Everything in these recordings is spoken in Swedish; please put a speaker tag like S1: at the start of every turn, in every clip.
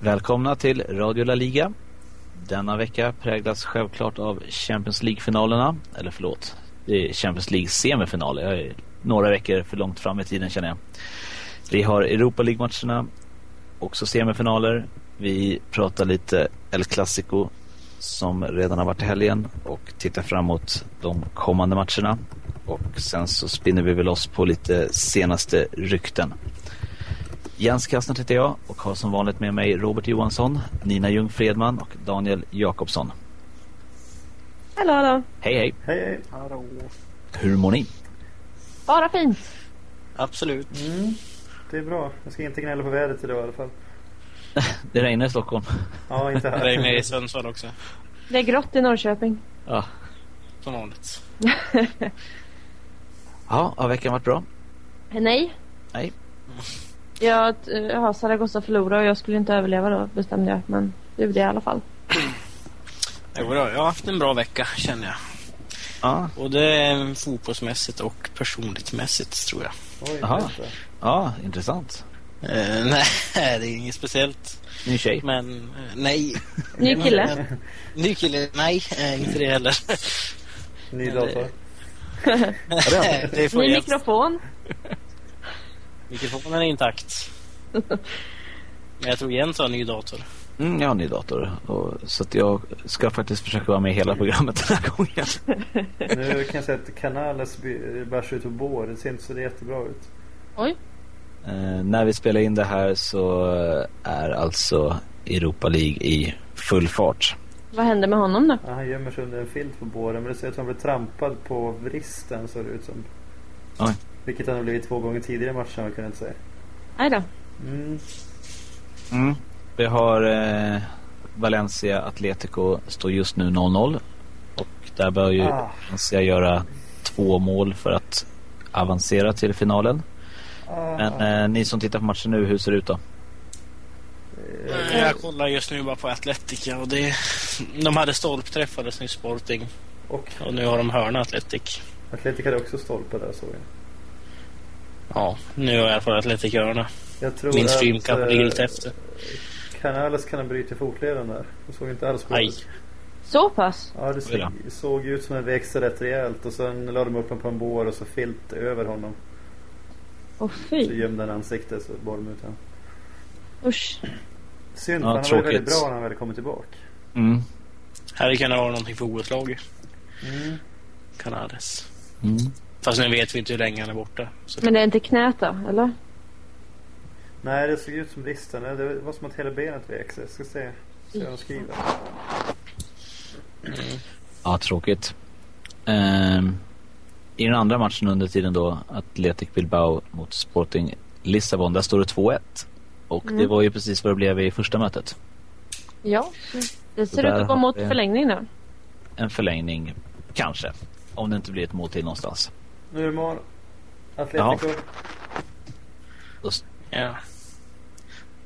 S1: Välkomna till Radio La Liga. Denna vecka präglas självklart av Champions League-finalerna. Eller förlåt, det är Champions Leagues semifinaler. Jag är några veckor för långt fram i tiden känner jag. Vi har Europa League-matcherna, också semifinaler. Vi pratar lite El Clasico som redan har varit i helgen och tittar framåt de kommande matcherna. Och sen så spinner vi väl oss på lite senaste rykten. Jens Kastner heter jag och har som vanligt med mig Robert Johansson, Nina Ljung Fredman och Daniel Jakobsson.
S2: Hallå, hallå.
S1: Hej hej!
S3: Hej, hej.
S4: Hallå.
S1: Hur mår ni?
S2: Bara fint.
S4: Absolut.
S3: Mm. Det är bra. Jag ska inte gnälla på vädret idag i alla fall.
S1: Det regnar i Stockholm.
S3: Ja, inte
S4: Det
S3: här.
S4: regnar i Sundsvall också.
S2: Det är grått i Norrköping.
S1: Ja,
S4: Som vanligt.
S1: ja har veckan varit bra?
S2: Nej.
S1: Nej.
S2: Jag eh, har Zaragoza förlorat och jag skulle inte överleva då bestämde jag. Men det gjorde jag i alla fall.
S4: Jo då, jag har haft en bra vecka känner jag.
S1: Ja,
S4: Både fotbollsmässigt och personligt mässigt tror jag.
S3: Oj,
S1: Aha.
S3: vänta.
S1: ja intressant.
S4: Eh, nej, det är inget speciellt.
S1: Ny tjej.
S4: Men eh, nej.
S2: Ny kille.
S4: Ny kille? Nej, eh, inte det heller.
S3: Ny dator.
S4: det får
S2: Ny
S4: jag.
S2: mikrofon.
S4: Mikrofonen är intakt. Men jag tror Jens har en ny dator.
S1: Mm, jag har en ny dator. Och, så att jag ska faktiskt försöka vara med i hela programmet den här gången.
S3: Nu kan jag säga att Canales by- bärs ut och bår. Det ser inte så jättebra ut.
S2: Oj.
S1: Eh, när vi spelar in det här så eh, är alltså Europa League i full fart.
S2: Vad hände med honom då?
S3: Ja, han gömmer sig under en filt på båren. Men det ser ut som han blir trampad på vristen ser det ut som.
S1: Oj.
S3: Vilket han har blivit två gånger tidigare i matchen, jag kunde inte säga.
S2: Nej då.
S3: Mm.
S1: Mm. Vi har eh, Valencia Atletico står just nu 0-0. Och där bör ju
S3: Ah.
S1: Valencia göra två mål för att avancera till finalen.
S3: Ah.
S1: Men eh, ni som tittar på matchen nu, hur ser det ut då?
S3: Eh,
S4: Jag kollar just nu bara på Atletica och det... De hade stolpträff alldeles nyss, Sporting.
S3: Och
S4: Och nu har de hörna Atletic.
S3: Atletic hade också stolpe där såg jag.
S4: Ja, nu har jag fått Atletic hörna.
S3: Jag tror
S4: Min
S3: att,
S4: stream kanske
S3: eh,
S4: ligger lite efter.
S3: Canales kan ha brutit fotleden där. Det såg inte alls bra
S4: Aj.
S3: ut.
S2: Så pass.
S3: Ja, det
S1: Oj då.
S3: såg, såg ut som en växte rätt rejält och sen la de upp honom på en bår och så filt över honom.
S2: Åh
S3: Så
S2: fy.
S3: gömde han ansiktet så bar de ut honom.
S2: Usch.
S3: Synd,
S1: Ja,
S3: för han var
S1: tråkigt.
S3: väldigt bra när han väl kommit tillbaka.
S1: Mm.
S4: Hade kunnat vara någonting för OS-laget.
S3: Mm.
S4: Canales.
S1: Mm.
S4: Fast nu vet vi inte hur länge han är borta. Så
S2: Men det är inte knät då, eller?
S3: Nej, det såg ut som bristen. Det var som att hela benet vek sig. Jag ska se. Se vad de skriver.
S1: Ja, tråkigt. Ehm, I den andra matchen under tiden då, Athletic Bilbao mot Sporting Lissabon, där står det 2-1. Och det
S2: Mm.
S1: var ju precis vad det blev i första mötet.
S2: Ja. Det ser
S1: Där
S2: ut att gå
S1: har
S2: mot
S1: vi-
S2: förlängning nu.
S1: En förlängning, kanske. Om det inte blir ett mål till någonstans.
S3: Nu är det mål. Atletico.
S4: ja.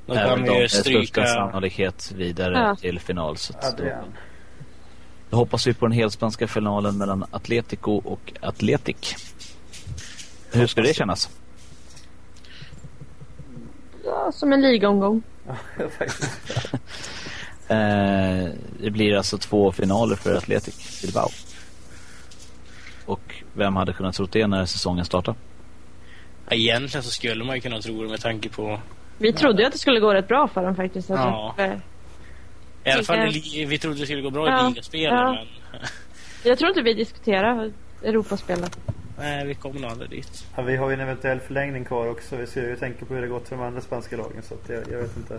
S4: Då
S1: Även
S4: kan
S1: de
S4: vi ju
S1: med största
S4: stryka...
S1: sannolikhet vidare
S2: Ja.
S1: till final. Så att då,
S3: Adrian.
S1: då hoppas vi på den helspanska finalen mellan Atletico och Atletic. Hur skulle det kännas?
S2: Ja, som en ligomgång.
S3: Ja, faktiskt.
S1: Eh, det blir alltså två finaler för Atletic Bilbao. Och vem hade kunnat tro det när säsongen startade?
S4: Ja, egentligen så skulle man ju kunna tro det med tanke på...
S2: Vi trodde ju att det skulle gå rätt bra för dem faktiskt. att- eh,
S4: Ja. I alla fall, i li- vi trodde det skulle gå bra
S2: Ja.
S4: i ligaspelet,
S2: Ja.
S4: men...
S2: Jag tror inte vi diskuterar Europaspelet.
S4: Nej, vi kommer nog aldrig dit.
S3: Ja, vi har ju en eventuell förlängning kvar också. Vi ser ju tänker på hur det gått för de andra spanska lagen. Så att jag, jag vet inte.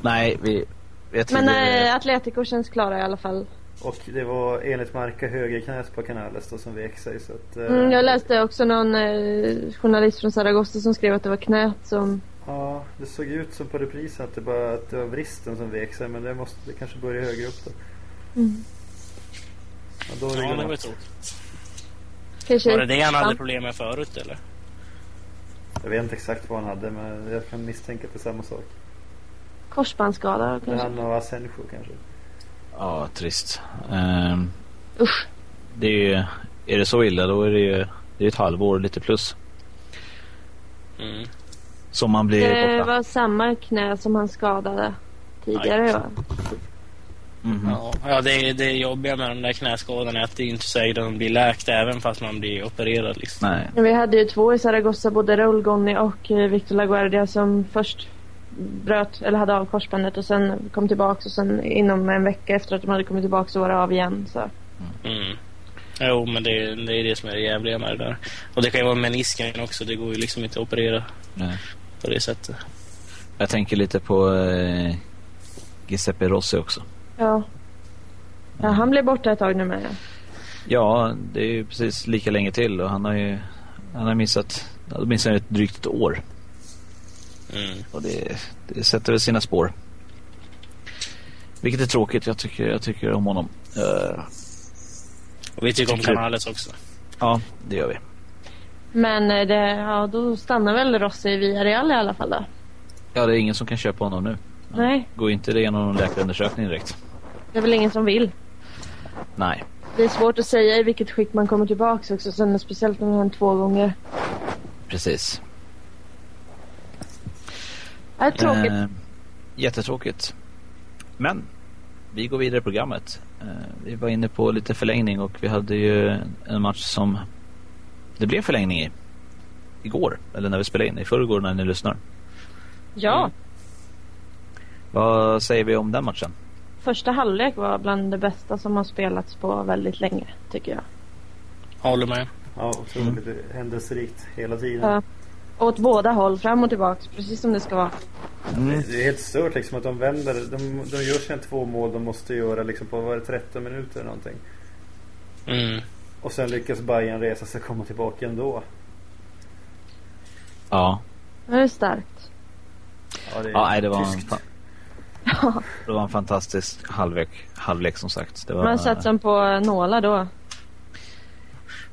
S1: Nej, vi vet
S2: Men
S1: tidigare...
S2: eh, Atletico känns klara i alla fall.
S3: Och det var enligt Marca högerknät på Canales då, som vek sig. Så att, eh,
S2: Mm, jag läste också någon eh, journalist från Zaragoza som skrev att det var knät som...
S3: Ja, det såg ut som på reprisen att det, bara, att det var vristen som vek sig men det måste det kanske börja högre upp då. Ja, då är det
S4: Ja, det var ju
S3: godnatt.
S4: tråkigt.
S2: Kanske...
S4: Var det det han hade
S2: Typ. Ja.
S4: problem med förut, eller?
S3: Jag vet inte exakt vad han hade men jag kan misstänka att det är samma sak.
S2: Korsbandsskada
S3: Det är
S2: kanske.
S3: han och Asensio kanske.
S1: Ja, trist. Ehm,
S2: Usch.
S1: det är, ju, är det så illa då är det ju det är ett halvår lite plus.
S4: Mm.
S1: Som man blir
S2: Det
S1: borta.
S2: var samma knä som han skadade tidigare.
S1: Aj.
S2: va?
S1: Mhm.
S4: Ja, ja det, det jobbiga med de där knäskadorna är att det är inte säkert att de blir läkt även fast man blir opererad. Liksom.
S1: Nej.
S2: Men Vi hade ju två i Zaragoza, både Raul Gonni och eh, Victor LaGuardia som först bröt eller hade av korsbandet och sen kom tillbaks och sen inom en vecka efter att de hade kommit tillbaks så var det av igen. Så.
S4: Mm. Jo, men det, det är det som är det jävliga med det där. Och det kan ju vara menisken också. Det går ju liksom inte att operera
S1: Nej.
S4: på det sättet.
S1: Jag tänker lite på eh, Giuseppe Rossi också.
S2: Ja. ja, han blev borta ett tag nu med. ja.
S1: Ja, det är ju precis lika länge till och han har ju han har missat åtminstone ett drygt ett år.
S4: Mm.
S1: Och det, det sätter väl sina spår. Vilket är tråkigt. Jag tycker, jag tycker om honom. Eh,
S4: Och vi tycker om
S1: Tycker du?
S4: Canales också.
S1: ja, det gör vi.
S2: Men eh, det, ja, då stannar väl Rossi i Villarreal i alla fall då.
S1: Ja, det är ingen som kan köpa honom nu. Ja.
S2: Nej,
S1: Går inte det igenom någon läkarundersökning direkt?
S2: det är väl ingen som vill.
S1: Nej.
S2: Det är svårt att säga i vilket skick man kommer tillbaks också. Sen, speciellt om man två gånger.
S1: Precis.
S2: Det är tråkigt.
S1: Eh, jättetråkigt. Men vi går vidare i programmet. Eh, vi var inne på lite förlängning och vi hade ju en match som det blev förlängning i. Igår, eller när vi spelade in. I förrgår när ni lyssnar.
S2: ja,
S1: Vad säger vi om den matchen?
S2: första halvlek var bland det bästa som har spelats på väldigt länge tycker jag.
S4: Håller med.
S3: Ja,
S1: Mm.
S3: otroligt händelserikt hela tiden.
S2: Ja. Eh, Åt båda håll, fram och tillbaks, precis som det ska vara.
S3: Det- Det är helt stört liksom att de vänder. De, de gör sina två mål de måste göra liksom på var det 13 minuter eller någonting.
S4: Mm.
S3: Och sen lyckas Bayern resa sig och komma tillbaka ändå.
S1: Ja,
S2: Det är starkt.
S3: Ja, det är
S1: ja nej, det, var en
S3: tyskt.
S1: fa- det var en fantastisk halvlek, halvlek som sagt. Det var,
S2: Man satt som på nålar då.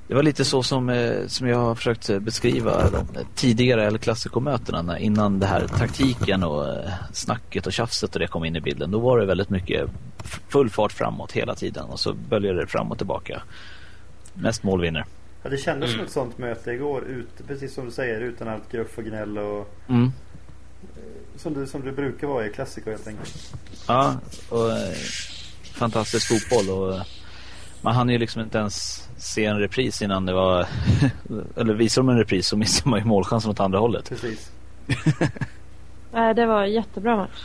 S1: Det var lite så som, eh, som jag har försökt eh, beskriva de tidigare El Clasico-mötena när- innan det här taktiken och eh, snacket och tjafset och det kom in i bilden. Då var det väldigt mycket f- full fart framåt hela tiden och så böljade det fram och tillbaka. Mest mål vinner.
S3: Ja, det kändes
S1: Mm.
S3: som ett sånt möte igår. Ut, precis som du säger, utan allt gruff och gnäll och
S1: Mm.
S3: som det, som det brukar vara i klassiker helt enkelt.
S1: Ja, och eh, fantastisk fotboll och eh, man hann ju liksom inte ens se en repris innan det var, eller visar de en repris så missar man ju målchansen åt andra hållet.
S3: Precis.
S2: Nej, det var en jättebra match.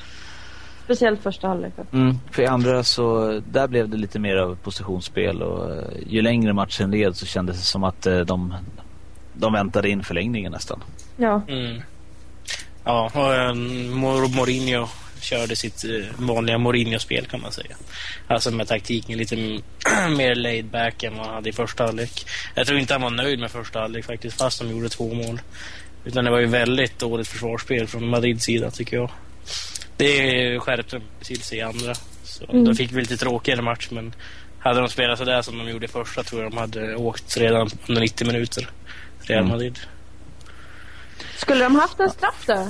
S2: Speciellt första halvlek.
S1: Mm, för i andra så, där blev det lite mer av positionsspel och eh, ju längre matchen led så kändes det som att eh, de, de väntade in förlängningen nästan.
S2: Ja,
S4: Mm. Ja, och eh, Mor- Mourinho körde sitt eh, vanliga Mourinho-spel kan man säga. Alltså med taktiken lite m- mer laid back än vad han hade i första halvlek. Jag tror inte han var nöjd med första halvlek faktiskt, fast de gjorde två mål. Utan det var ju väldigt dåligt försvarsspel från Madrids sida tycker jag. Det skärpte de till sig i andra. Så
S2: Mm.
S4: Då fick vi lite tråkigare match men hade de spelat sådär som de gjorde i första tror jag de hade åkt redan under 90 minuter. Real
S1: Mm.
S4: Madrid.
S2: Skulle de haft en straff då?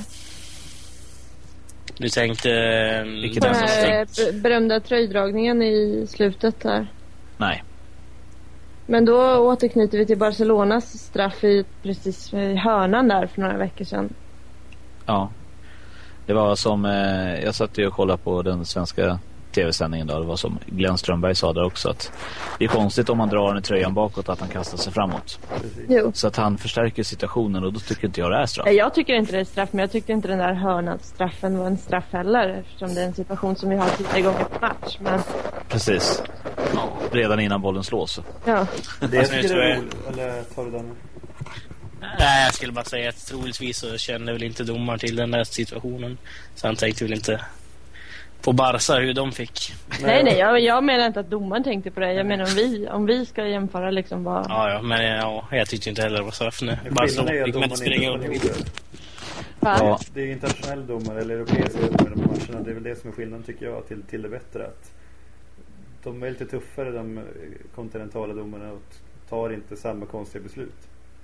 S4: Du tänkte... ehm,
S1: Vilket
S2: På
S1: är
S2: den
S1: det som
S2: här
S1: straff?
S2: eh, berömda tröjdragningen i slutet där.
S1: Nej,
S2: Men då återknyter vi till Barcelonas straff i, precis i hörnan där för några veckor sedan.
S1: ja. Det var som, eh, jag satt ju och kollade på den svenska tv-sändningen då. Det var som Glenn Strömberg sa där också att det är konstigt om man drar den i tröjan bakåt att han kastar sig framåt.
S3: precis.
S2: Jo.
S1: Så att han förstärker situationen och då tycker inte jag det är straff.
S2: Nej, Eh, Jag tycker inte det är straff, men jag tyckte inte den där hörnastraffen var en straff heller eftersom det är en situation som vi har tittat igång på match. Men
S1: Precis. Redan innan bollen slås.
S2: ja,
S3: Det jag
S4: Alltså,
S3: tycker
S4: nu
S3: är
S4: tror
S3: roligt. Eller tar du den?
S4: Nej, jag skulle bara säga att troligtvis så kände väl inte domaren till den där situationen. Så han tänkte väl inte på Barca hur de fick.
S2: nej, nej, jag, jag menar inte att domaren tänkte på det. Jag menar om vi, om vi ska jämföra liksom vad...
S4: Ja, ja, men ja, jag tyckte inte heller det var straff nu.
S3: Skillnaden är ju
S4: Barca
S3: att
S4: fick man
S3: domaren
S4: inte
S3: inte
S4: springa
S3: var
S4: upp.
S3: ihop.
S2: vad-
S1: Ja.
S3: Det är ju internationella domare eller europeiska domare de matcherna. Det är väl det som är skillnaden tycker jag till, till det bättre. Att de är lite tuffare de eh, kontinentala domarna och tar inte samma konstiga beslut.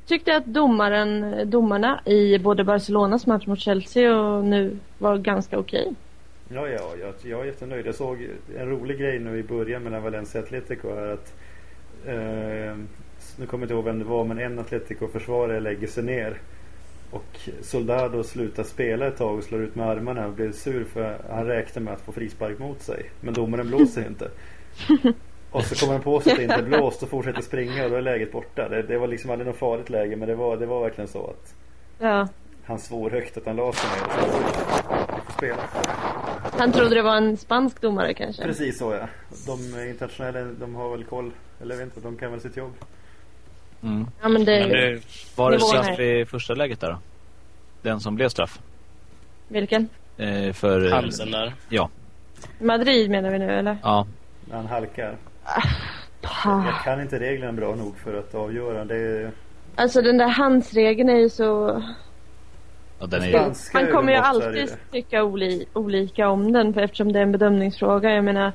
S2: Tyckte att domaren, domarna i både Barcelonas match mot Chelsea och nu var ganska okej.
S3: Ja, ja, jag, jag är jättenöjd. Jag såg en rolig grej nu i början mellan Valencia och Atletico här att ehm, eh, nu kommer jag inte ihåg vem det var men en Atletico-försvarare lägger sig ner Och Soldado slutar spela ett tag och slår ut med armarna och blir sur för han räknar med att få frispark mot sig. Men domaren blåser inte. Och så kommer han på sig att det inte är blåst och fortsätter springa och då är läget borta. Det, det var liksom aldrig något farligt läge men det var, det var verkligen så att
S2: Ja.
S3: han svor högt att han la sig ner och sen så fick vi spela.
S2: Han trodde det var en spansk domare kanske.
S3: Precis så ja. De internationella de har väl koll. Eller jag vet inte, de kan väl sitt jobb.
S1: Mm.
S2: Ja, men det,
S4: Men det,
S1: Var det
S2: Nivån
S1: straff
S2: här.
S1: i första läget där då? Den som blev straff?
S2: Vilken?
S1: Eh, för... eh,
S4: Hansen där.
S1: Ja.
S2: Madrid menar vi nu eller?
S1: Ja.
S3: När han halkar.
S2: Pah.
S3: Jag kan inte reglerna bra nog för att avgöra. Det är
S2: Alltså den där handsregeln är ju så...
S1: ja den är ju...
S3: spanska
S2: Man kommer ju
S3: ubåtar
S2: alltid tycka oli- olika om den för eftersom det är en bedömningsfråga. Jag menar,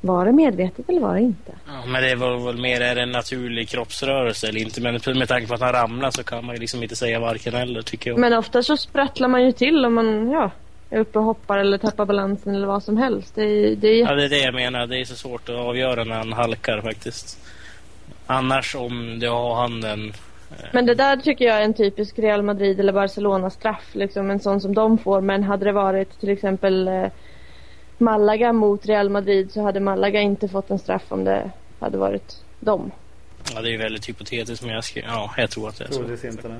S2: var det medvetet eller var det inte?
S4: Ja, men det var väl mer är det en naturlig kroppsrörelse eller inte. Men med tanke på att han ramlar så kan man ju liksom inte säga varken eller tycker jag.
S2: Men ofta så sprattlar man ju till om man ja, är uppe och hoppar eller tappar balansen eller vad som helst. Det är, det är,
S4: Ja, det är det jag menar. Det är så svårt att avgöra när han halkar faktiskt. Annars om du har handen...
S2: Men det där tycker jag är en typisk Real Madrid eller Barcelona-straff. Liksom en sån som de får. Men hade det varit till exempel eh, Malaga mot Real Madrid så hade Malaga inte fått en straff om det hade varit dem.
S4: Ja, det är ju väldigt hypotetiskt men jag, ska, ja, jag tror att det är så.
S3: Troligtvis inte. nej.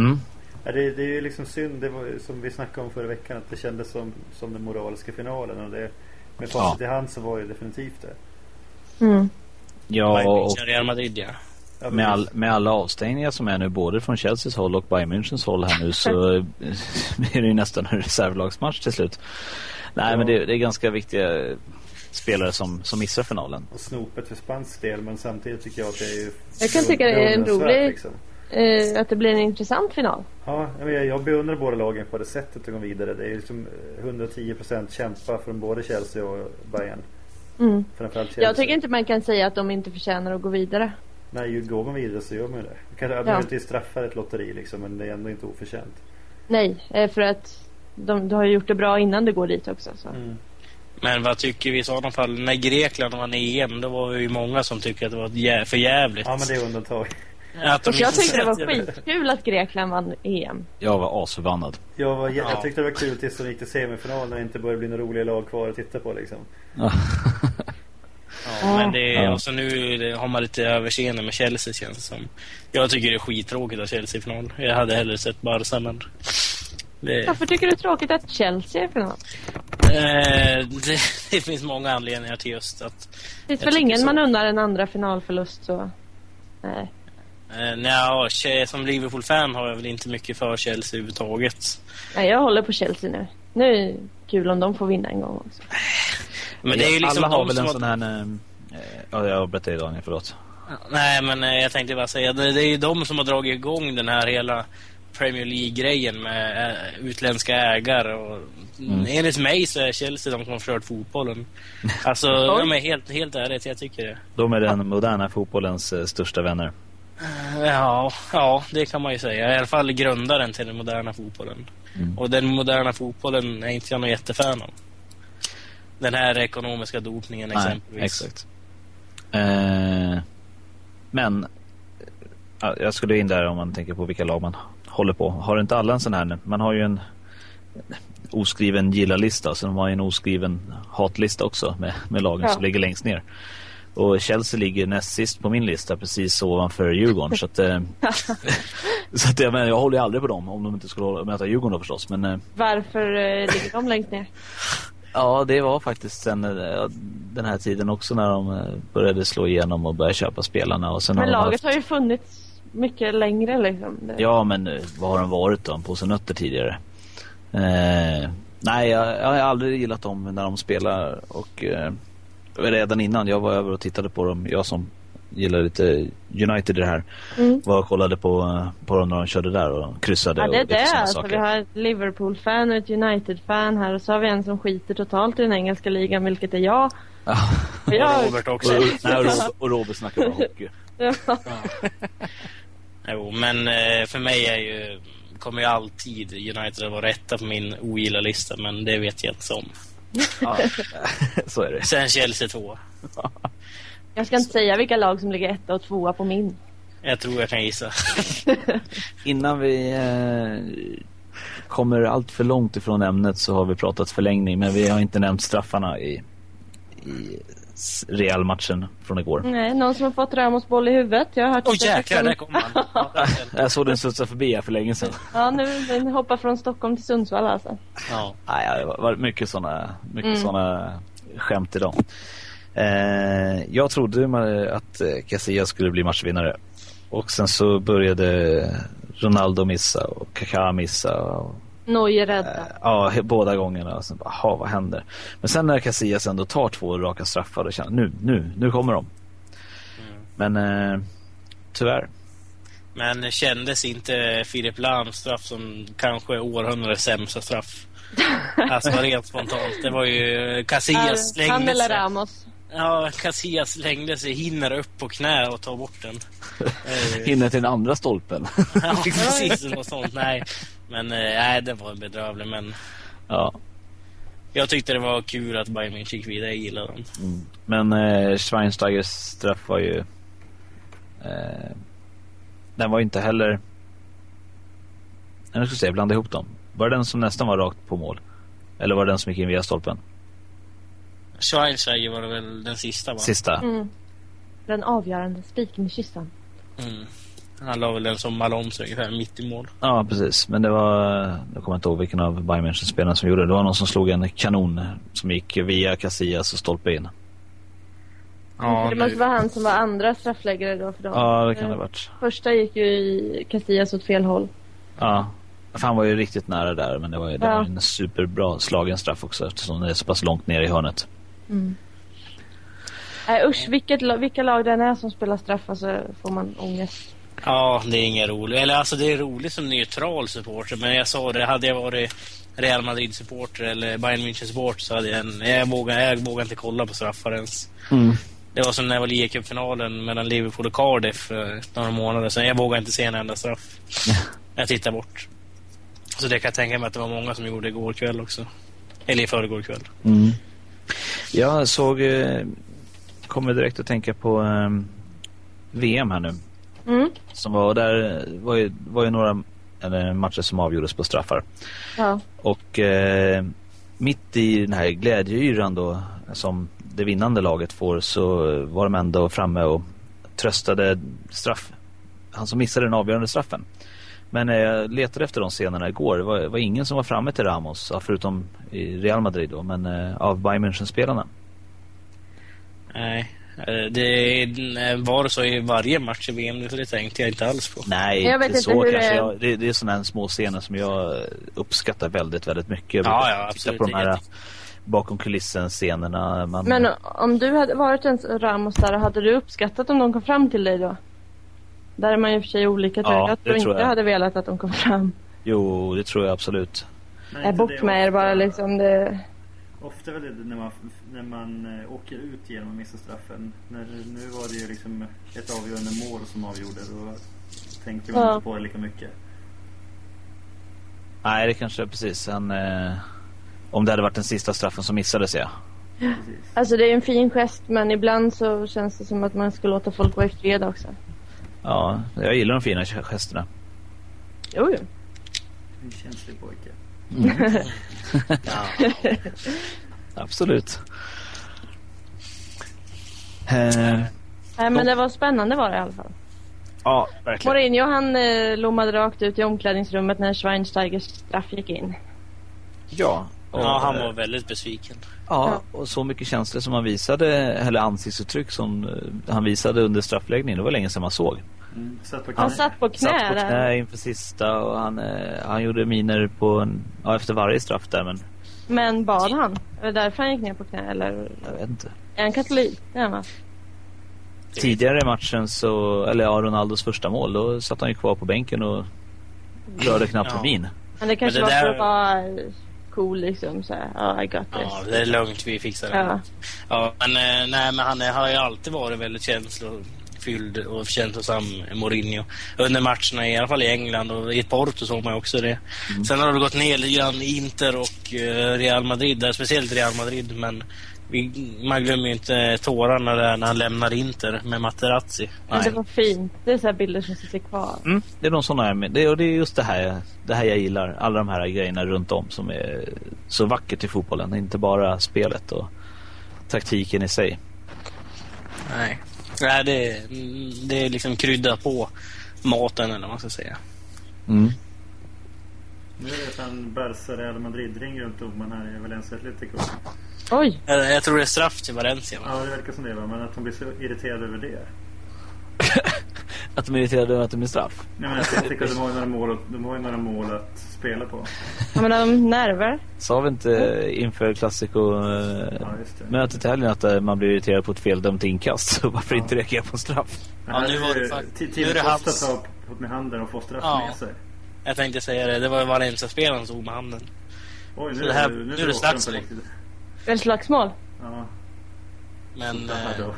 S1: Mm.
S3: Ja, det, det är ju liksom synd, det var, ju som vi snackade om förra veckan, att det kändes som, som den moraliska finalen. Och det, med facit i hand så var det definitivt det.
S2: Mm.
S1: Ja,
S4: Bayern
S1: och
S4: München, Real Madrid ja.
S3: Ja,
S1: med, all,
S3: precis.
S1: med alla avstängningar som är nu både från Chelseas håll och Bayern Münchens håll här nu så eh, blir det ju nästan en reservlagsmatch till slut. Nej
S3: Ja.
S1: men det, det är ganska viktiga spelare som, som missar finalen.
S3: Och snopet för spansk del, men samtidigt tycker jag att det är ju...
S2: Jag kan tycka det är en
S3: beundransvärt,
S2: rolig-
S3: liksom.
S2: Eh, att det blir en intressant final.
S3: Ja, jag menar, jag beundrar båda lagen på det sättet de går vidare. Det är ju liksom eh, 110% kämpa från både Chelsea och Bayern.
S2: Mm.
S3: Framförallt Chelsea.
S2: Jag tycker inte man kan säga att de inte förtjänar att gå vidare.
S3: Nej, ju går man vidare så gör man ju det. Kanske, ja. Möjligtvis straffar ett lotteri liksom, men det är ändå inte oförtjänt.
S2: Nej, eh, för att de, de har ju gjort det bra innan det går dit också. Så.
S3: Mm.
S4: Men vad tycker vi i sådana fall? När Grekland vann EM då var vi ju många som tyckte att det var ett jä- för jävligt.
S3: Ja, men det är undantag.
S4: Att de
S2: Och jag
S4: inte
S2: tyckte det var
S4: sätter-
S2: skitkul att Grekland vann E EM.
S1: Jag var asförbannad.
S3: Jag, var, jä-
S4: Ja.
S3: jag tyckte det var kul tills de gick till semifinal när det inte började bli några roliga lag kvar att titta på liksom.
S4: Ja, men det,
S1: Ja.
S4: och så nu det- har man lite överseende med Chelsea känns det som. Jag tycker det är skittråkigt att Chelsea är i final. Jag hade hellre sett Barca men... Det, eh,
S2: Varför tycker du det är tråkigt att Chelsea är i final?
S4: Eh, det, det finns många anledningar till just att...
S2: Det finns
S4: Jag
S2: väl
S4: tycker
S2: ingen
S4: så.
S2: man undrar en andra finalförlust så... Nej.
S4: Eh, nja, Che- som Liverpool-fan har jag väl inte mycket för Chelsea överhuvudtaget.
S2: Nej, jag håller på Chelsea nu. Nu är det kul om de får vinna en gång också.
S4: Men det är ju liksom
S1: alla har
S4: de
S1: väl en
S4: som har-
S1: sån här... eh, Ja, jag avbröt dig Daniel, förlåt.
S4: Nej, men eh, jag tänkte bara säga det, det är ju de som har dragit igång den här hela Premier League-grejen med eh, utländska ägare. Och,
S1: Mm.
S4: Enligt mig så är Chelsea de som har förstört fotbollen. Alltså, ja, men helt, helt ärligt, jag tycker det.
S1: De är den moderna fotbollens eh, största vänner.
S4: Ja, ja, det kan man ju säga. I alla fall grundaren till den moderna fotbollen. Och den moderna fotbollen är inte jag någon jättefan av. Den här ekonomiska dopningen exempelvis.
S1: Nej, exakt. Eh, men eh, ja, jag skulle in där om man tänker på vilka lag man håller på. Har inte alla en sån här nu? Man har ju en oskriven gilla-lista, sen har man ju en oskriven hatlista också med, med lagen
S2: Ja.
S1: som ligger längst ner. Och Chelsea ligger näst sist på min lista, precis ovanför Djurgården. så att, eh, så att jag, menar, jag håller ju aldrig på dem, om de inte skulle hålla- möta Djurgården då förstås. Men, eh,
S2: Varför eh, ligger de längst ner?
S1: Ja, det var faktiskt sen eh, ja, den här tiden också när de eh, började slå igenom och började köpa spelarna. Och sen
S2: Men
S1: har de
S2: laget
S1: haft-
S2: har ju funnits mycket längre liksom. Det-
S1: Ja, men eh, vad har de varit då? En påse nötter tidigare? Eh, nej, jag, jag har aldrig gillat dem när de spelar. Och eh, redan innan, jag var över och tittade på dem. Jag som gillar lite United i det här.
S2: Mm.
S1: Var och kollade på, eh, på dem när de körde där och kryssade
S2: Ja, det är
S1: och lite
S2: det.
S1: såna
S2: Alltså,
S1: saker.
S2: vi har ett Liverpool-fan och ett United-fan här och så har vi en som skiter totalt i den engelska ligan, vilket är jag.
S1: Ja.
S2: Och
S4: Och
S2: jag
S4: Robert också.
S1: Och, nej, och, Robert, och Robert snackade om hockey.
S4: Jo, men eh, för mig är ju, kommer ju alltid United att vara etta på min ogilla-lista, men det vet jag inte om.
S1: Ja, så är det.
S4: Sen Chelsea två.
S2: jag ska inte säga vilka lag som ligger etta och tvåa på min.
S4: Jag tror jag kan gissa.
S1: Innan vi eh, kommer allt för långt ifrån ämnet så har vi pratat förlängning men vi har inte nämnt straffarna i, i s- Real-matchen från igår.
S2: Nej, någon som har fått Ramos boll i huvudet. Jag har hört
S4: Åh
S2: att det är liksom-
S4: jäklar,
S2: som-
S4: där kom han. Ja,
S1: Jag såg den studsa förbi här för länge sedan.
S2: Ja, nu den hoppar från Stockholm till Sundsvall alltså.
S4: ja.
S1: Nej, ja, det var- var mycket sådana mycket
S2: Mm.
S1: såna skämt idag. Eh, jag trodde ju ma- att eh, Casillas skulle bli matchvinnare. Och sen så började Ronaldo missa och Kaká missa. Och,
S2: Neuer rädda.
S1: eh, ja, he- båda gångerna. Och sen bara, "Jaha, vad händer? Men sen när Casillas ändå tar två raka straffar, då känner jag, nu, nu, nu kommer de. Men eh, tyvärr.
S4: Men kändes inte Filip Lahms straff som kanske århundradets sämsta straff? Alltså rent spontant. Det var ju Casillas
S2: Är- Han
S4: slängde
S2: eller
S4: sig.
S2: Ramos.
S4: Ja, Casillas slängde sig, hinner upp på knä och tar bort den. Eh,
S1: Hinner till den andra stolpen.
S4: ja, precis, något sånt. Nej, men eh, nej, den var bedrövlig. Men
S1: ja.
S4: jag tyckte det var kul att Bayern München gick vidare. Jag gillade dem.
S1: Mm. Men eh, Schweinsteigers straff var ju... Eh, den var ju inte heller... Jag ska säga, blanda ihop dem. Var det den som nästan var rakt på mål? Eller var det den som gick in via stolpen?
S4: Schweinsteiger var det väl den sista, va?
S1: Sista?
S2: Mm. Den avgörande spiken i kistan.
S4: Mm. Han la väl den som Malons ungefär mitt i mål.
S1: Ja, precis. Men det var... Jag kommer inte ihåg vilken av Bayern München-spelarna som gjorde det. Det var någon som slog en kanon som gick via Casillas och stolpe in.
S2: Så Mm, det måste vara han som var andra straffläggare då för dem. Eh,
S1: Ja, det kan det ha varit.
S2: Första gick ju i Casillas åt fel håll.
S1: Ja. För han var ju riktigt nära där, men det var ju det
S2: Ja.
S1: var ju en superbra slagen straff också eftersom det är så pass långt ner i hörnet.
S2: Mm. Nej Eh, usch, vilket, la- vilka lag det än är som spelar straffar så får man ångest.
S4: Ja, det är inget roligt. Eller alltså det är roligt som neutral supporter, men jag sa det, hade jag varit Real Madrid-supporter eller Bayern München-supporter så hade jag, en, jag, vågar, jag vågar inte kolla på straffar ens.
S1: Mm.
S4: Det var som när jag var i cupfinalen mellan Liverpool och Cardiff för några månader sedan. Jag vågar inte se en enda straff. Jag tittar bort. Så det kan jag tänka mig att det var många som gjorde igår kväll också. Eller i förrgår kväll.
S1: Mm. Jag såg, eh, kommer direkt att tänka på eh, VM här nu.
S2: Mm.
S1: Som var, och där eh, var ju, var ju några eller, matcher som avgjordes på straffar.
S2: Ja.
S1: Och eh, mitt i den här glädjeyran då som det vinnande laget får så eh, var de ändå framme och tröstade straff, han som missade den avgörande straffen. Men eh, jag letade efter de scenerna igår. Det var, var ingen som var framme till Ramos, ja, förutom i Real Madrid då, men eh, av Bayern München-spelarna.
S4: Nej. Eh, Det var så i varje match i VM nu, så det tänkte jag inte alls på.
S1: Nej,
S2: Jag vet
S1: inte
S2: inte
S1: så
S2: hur
S1: kanske.
S2: det-
S1: Jag, det, det är sådana här små scener som jag uppskattar väldigt, väldigt mycket. Jag
S4: Ja,
S1: brukar
S4: ja,
S1: titta
S4: absolut.
S1: på de
S4: Det är
S1: här
S4: jätte-
S1: bakom kulissen-scenerna. Man...
S2: Men eh, om du hade varit en Ramos där, hade du uppskattat om de kom fram till dig då? Där är man ju i och för sig olika tror
S1: Ja,
S2: jag. Jag
S1: det
S2: tror inte
S1: tror jag.
S2: jag hade velat att de kom fram.
S1: Jo, det tror jag absolut.
S2: Nej, bort med er bara liksom. Det...
S3: Ofta är väl det när man, när man eh, åker ut genom att missa straffen. När, nu var det ju liksom ett avgörande mål som avgjorde. Då tänkte man
S2: Ja.
S3: inte på det lika mycket.
S1: Nej, det kanske precis. Han, eh, om det hade varit den sista straffen som missades, ja.
S3: Precis.
S2: Alltså det är en fin gest men ibland så känns det som att man ska låta folk vara i fred också.
S1: Ja, jag gillar de fina gesterna.
S2: Jo, jo.
S3: En känslig pojke.
S1: Mm. eh, Absolut. Eh,
S2: Nej men det var spännande var det i alla fall.
S1: ja, verkligen.
S2: Mourinho han eh, lommade rakt ut i omklädningsrummet när Schweinsteigers straff gick in.
S1: Ja. Och, eh,
S4: Ja, han var väldigt besviken.
S1: ja, och så mycket känslor som han visade, eller ansiktsuttryck som eh, han visade under straffläggningen. Det var länge sedan man såg.
S3: Mm. Satt på
S2: Han
S3: knä.
S2: satt på knä,
S1: Satt på
S2: där.
S1: knä inför sista och han, eh, han gjorde miner på en, ja, efter varje straff där, men
S2: Men bad han? Var det därför han gick ner på knä eller?
S1: jag vet inte.
S2: Är han katolik? Det är han, va?
S1: Tidigare i matchen, så, eller ja, Ronaldos första mål, då satt han ju kvar på bänken och rörde knappt
S4: Ja.
S1: en min.
S2: Men det kanske
S4: Men det
S2: var för
S4: där-
S2: att vara eh, cool liksom såhär, ja I got this.
S4: Ja, det är lugnt. Vi fixar det.
S2: Ja.
S4: Ja. men, eh, nej, men han är, har ju alltid varit väldigt känslofylld och känslosam, Mourinho. Under matcherna, i alla fall i England och i Porto såg man ju också det. Sen har det gått ner lite grann i Inter och eh, Real Madrid, där, speciellt Real Madrid. Men vi, man glömmer ju inte tårarna där när han lämnar Inter med Materazzi.
S2: Men
S1: Nej.
S2: det var fint. Det är så här bilder som sitter kvar.
S1: Mm, det är de sådana jag med. Det, och det är just det här, det här jag gillar. Alla de här grejerna runt om som är så vackert i fotbollen. Inte bara spelet och taktiken i sig.
S4: Nej. Nej, det, det är liksom krydda på maten eller vad man ska säga.
S1: Mm.
S3: Nu är det sen Barca Real Madrid ringer runt domaren här i Valencia Atletico.
S2: Oj!
S4: Jag, jag tror det är straff till Valencia. Va?
S3: Ja, det verkar som det va, men att de blir så irriterade över det.
S1: Att de är irriterade över att det blir straff.
S3: Nej men Atletico, de har ju några mål, de har ju några mål att spela på.
S2: Jag menar, de nerver.
S1: Sa vi inte inför Eh,
S3: Ja, just det.
S1: Clasico-mötet i helgen att eh, man blir irriterad på ett feldömt inkast? Så varför
S3: Ja.
S1: inte reagera på en straff?
S4: Ja, nu var det fakt- nu är
S3: Tim
S4: det
S3: Costa
S4: hans-
S3: tar upp med handen och får straff
S4: Ja.
S3: med sig.
S4: Jag tänkte säga det. Det var ju Valencia-spelaren som stod med handen.
S3: Oj,
S4: Så
S3: nu,
S4: det här-
S3: nu,
S4: nu är det
S3: bråkar de
S4: slagsmål.
S3: på riktigt.
S2: Eller slagsmål.
S3: Ja,
S4: Men
S3: det här
S4: eh,
S3: då.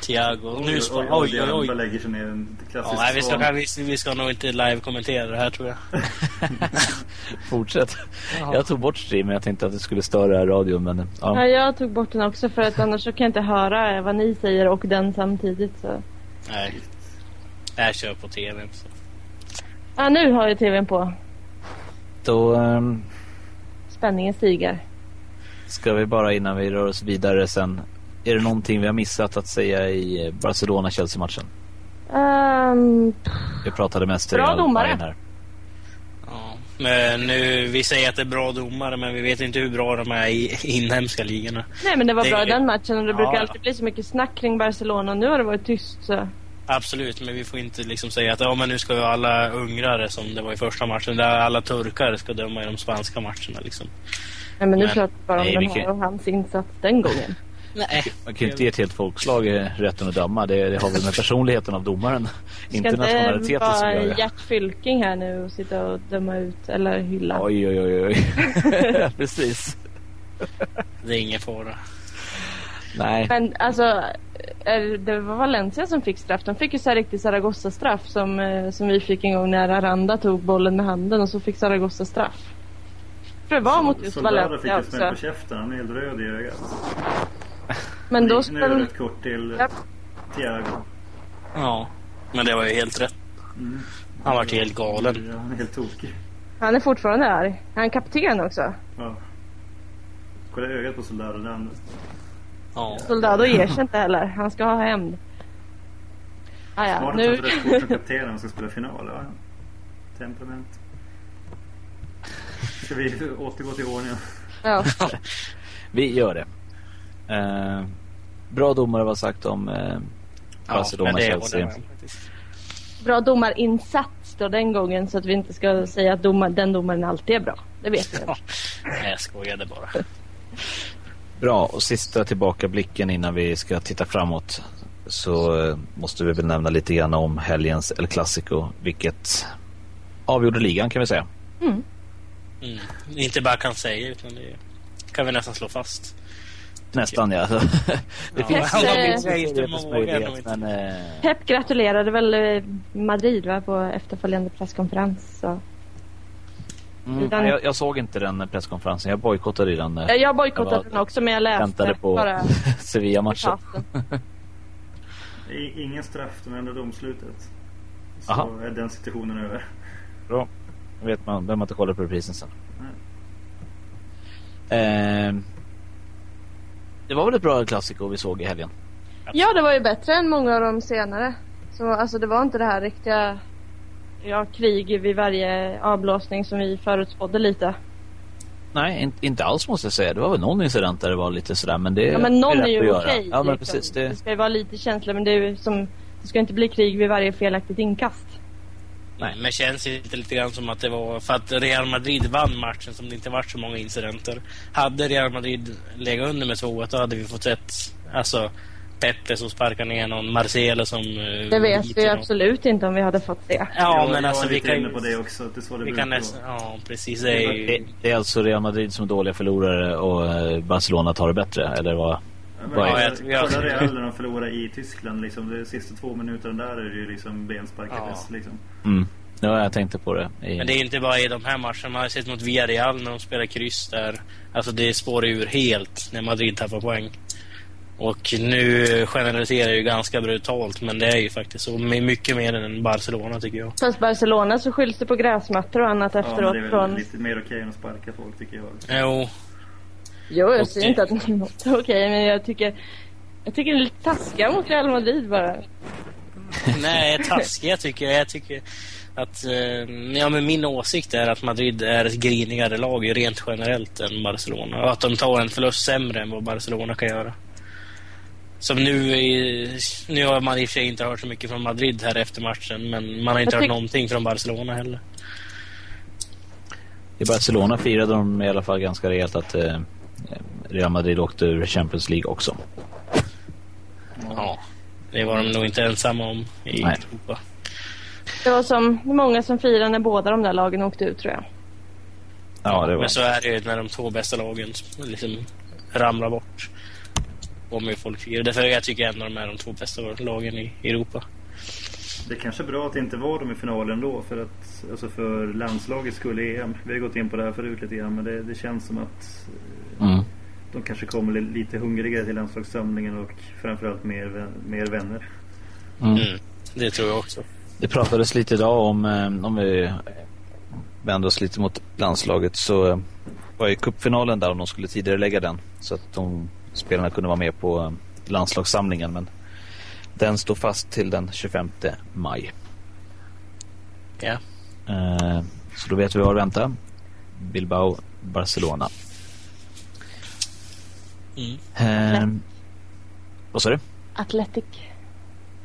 S4: Thiago... Nu spa-
S3: oj, oj, oj, oj. lägger sig ner en
S4: Ja,
S3: klassisk
S4: nej, vi, ska,
S3: svan.
S4: kan- vi, vi ska nog inte live-kommentera det här tror jag.
S1: Fortsätt.
S4: Ja.
S1: Jag tog bort streamen. Jag tänkte att det skulle störa radion. Men, eh,
S2: Ja,
S1: ja.
S2: jag tog bort den också för att annars så kan jag inte höra vad ni säger och den samtidigt. Så.
S4: Nej. Jag kör på tv. Så.
S2: Ah, nu har jag tvn på.
S1: Då ehm,
S2: Spänningen stiger.
S1: Ska vi bara innan vi rör oss vidare sen. Är det någonting vi har missat att säga i Barcelona-Chelsea-matchen?
S2: Ehm,
S1: Vi pratade mest
S2: Bra
S1: Real
S2: domare.
S1: Bayern här.
S4: Ja. Men nu, vi säger att det är bra domare, men vi vet inte hur bra de är i inhemska ligorna.
S2: nej men det var
S4: Det-
S2: bra i den matchen och det
S4: Ja,
S2: brukar
S4: ja.
S2: alltid bli så mycket snack kring Barcelona och nu har det varit tyst så.
S4: Absolut, men vi får inte liksom säga att ja, men nu ska ju alla ungrare, som det var i första matchen, där alla turkar ska döma i de spanska matcherna. Liksom.
S2: Nej men nu
S4: Men-
S2: pratar vi bara om
S1: nej,
S2: den
S1: vi
S2: här
S1: kan-
S2: och hans insats den gången.
S4: Nej.
S1: Man kan ju inte ge ett helt folkslag eh, rätten att döma. Det, det har väl med personligheten av domaren,
S2: Vi
S1: inte
S2: ska inte
S1: nationaliteten som
S2: vara
S1: gör det.
S2: Gert Fylking här nu och sitta och döma ut eller hylla.
S1: Oj, oj, oj, oj. Precis.
S4: Det är ingen fara.
S1: Nej,
S2: Men alltså, är- det var Valencia som fick straff. De fick ju så här riktigt Zaragoza-straff som, eh, som vi fick en gång när Aranda tog bollen med handen och så fick Zaragoza straff. För det var mot just
S3: Soldado fick
S2: Valencia
S3: ju smäll
S2: också.
S3: på käften, han är helt röd i ögat.
S2: Men då
S3: Nu är det
S2: spel...
S3: ett kort till
S2: Japp.
S3: Thiago.
S4: Ja, men det var ju helt rätt.
S3: Mm.
S4: Han vart helt galen.
S3: Ja, han är helt tokig.
S2: Han är fortfarande arg. Han är kapten också.
S3: Ja. Kolla ögat på Soldado, det andra.
S4: Ja.
S2: Soldado ger sig inte heller. Han ska ha hämnd. Ah, ja,
S3: Smart att han
S2: nu...
S3: inte rött kort som kapten när han ska spela final. Ja. Temperament. Ska vi återgå till ordningen?
S2: Ja.
S1: vi gör det. Eh, bra domare var sagt om eh,
S3: Alltså,
S4: men det håller
S1: Barcelona-Chelsea.
S4: jag med om faktiskt.
S2: Bra domarinsats då den gången så att vi inte ska säga att domar... den domaren alltid är bra. Det vet jag.
S4: Nej, jag skojade bara.
S1: Bra, och sista tillbakablicken innan vi ska titta framåt så eh, måste vi väl nämna lite grann om helgens El Clasico, vilket avgjorde ligan kan vi säga.
S4: Mm. Inte bara kan säga, utan det kan vi nästan slå fast.
S1: Nästan ja. det
S4: Ja,
S1: finns
S2: men
S1: ju
S2: alla
S1: en
S4: minns jag inte
S1: teoretisk
S4: många, jag
S1: möjlighet,
S4: vet inte.
S1: men eh,
S2: Pep gratulerade väl eh, Madrid va, på efterföljande presskonferens. Så.
S1: mm,
S2: Utan-
S1: jag, jag såg inte den presskonferensen. Jag bojkottade ju den. eh,
S2: Ja, Jag
S1: Jag
S2: bojkottade
S1: var-
S2: den också men jag läste
S1: väntade på
S2: bara
S1: Sevilla-matchen.
S2: citaten.
S3: Det är Ingen straff, de ändrar domslutet. Så
S1: Aha.
S3: är den situationen över.
S1: Bra. Då vet man, behöver man inte kolla på reprisen sen. Eh, det var väl ett bra El Clasico vi såg i helgen?
S2: Ja det var ju bättre än många av de senare. Så, alltså, det var inte det här riktiga ja, krig vid varje avblåsning som vi förutspådde lite.
S1: Nej, in, inte alls måste jag säga. Det var väl någon incident där det var lite sådär. Men det
S2: Ja, men någon
S1: det
S2: är
S1: rätt att
S2: ju
S1: göra.
S2: okej.
S1: Ja, men
S2: liksom.
S1: precis. Det,
S2: det ska ju vara lite känsla men det, är ju som, det ska inte bli krig vid varje felaktigt inkast.
S1: Nej.
S4: Men känns inte lite grann som att det var för att Real Madrid vann matchen som det inte varit så många incidenter. Hade Real Madrid legat under med 2-1 då hade vi fått sett alltså Pepe som sparkar ner någon, Marcelo som... eh,
S2: Det vet
S4: biter
S2: vi ju
S4: någon.
S2: absolut inte om vi hade fått se.
S4: Ja,
S3: jag,
S4: men
S3: jag
S4: alltså
S3: är
S4: vi
S3: lite
S4: kan,
S3: inne på det också, att det är så det
S4: vi
S3: brukar
S4: kan
S3: vara.
S4: nästan... Ja, precis. Det är
S1: det,
S4: ju,
S1: det är alltså Real Madrid som är dåliga förlorare och eh, Barcelona tar det bättre, eller vad?
S3: Ja,
S1: Vad
S4: är
S3: men
S4: det?
S3: Kolla kolla Real när de förlorar i Tyskland. Liksom, de sista två minuterna där är det ju liksom benspar i
S4: Ja.
S3: väst. Liksom.
S1: Mm. Ja, jag tänkte på det. I...
S4: Men det är inte bara i de här matcherna. Man har sett mot Villarreal när de spelar kryss där. Alltså det spårar ur helt när Madrid tappar poäng. Och nu generaliserar jag ju ganska brutalt, men det är ju faktiskt så. My- Mycket mer än Barcelona tycker jag.
S2: Fast Barcelona så skylls det på gräsmattor och annat
S3: Ja, men
S2: efteråt
S3: det är väl
S2: från...
S3: lite mer okej än att sparka folk tycker jag.
S4: Jo,
S2: Jo, jag säger
S4: Okej.
S2: inte att det är något okej, men jag tycker... Jag tycker det är lite taskiga mot Real Madrid bara.
S4: nej, taskiga tycker jag. Jag tycker att... Eh, ja, men min åsikt är att Madrid är ett grinigare lag rent generellt än Barcelona. Och att de tar en förlust sämre än vad Barcelona kan göra. Som nu, i- nu har man i och för sig inte hört så mycket från Madrid här efter matchen, men man har inte
S2: Jag
S4: hört
S2: tyck-
S4: någonting från Barcelona heller.
S1: I Barcelona firade de i alla fall ganska rejält att eh, Real Madrid åkte ur Champions League också.
S4: Ja, det var de nog inte ensamma om i
S1: Nej.
S4: Europa.
S2: Det var som många som firade när båda de där lagen åkte ut tror jag.
S1: Ja, det var
S4: Men så är det ju när de två bästa lagen liksom ramlar bort. Om hur folk firar. Därför jag tycker ändå de är de två bästa lagen i Europa.
S3: Det är kanske är bra att det inte var de i finalen då för att alltså för landslagets skull i EM. Vi har gått in på det här förut lite grann men det, det känns som att
S1: Mm.
S3: de kanske kommer li- lite hungrigare till landslagssamlingen och framförallt mer, vän- mer vänner.
S1: Mm.
S4: Mm. Det tror jag också.
S1: Det pratades lite idag om, eh, om vi vänder oss lite mot landslaget, så eh, var ju cupfinalen där om de skulle tidigare lägga den. Så att de spelarna kunde vara med på eh, landslagssamlingen. Men den står fast till den 25 maj.
S4: Ja.
S1: Eh, Så då vet vi vad vi väntar. Bilbao, Barcelona.
S4: Mm.
S1: Eh, Vad sa du?
S2: Athletic.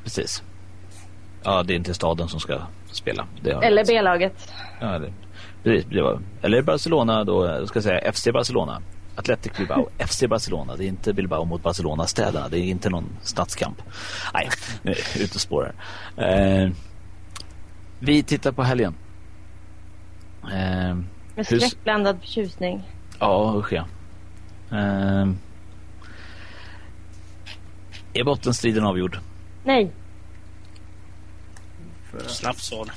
S1: Precis. Ja, det är inte staden som ska spela. Det har-
S2: Eller B-laget.
S1: Ja, det, precis, det var, eller Barcelona då, jag ska säga FC Barcelona. Athletic Bilbao, FC Barcelona. Det är inte Bilbao mot Barcelona-städerna. Det är inte någon stadskamp. Nej, nu är jag ute och spårar. Eh, vi tittar på helgen. Eh,
S2: Med
S1: Hur-
S2: skräckblandad förtjusning.
S1: ja, usch ja. Eh, är bottenstriden avgjord?
S2: Nej,
S3: För att,
S4: Snabbt svar.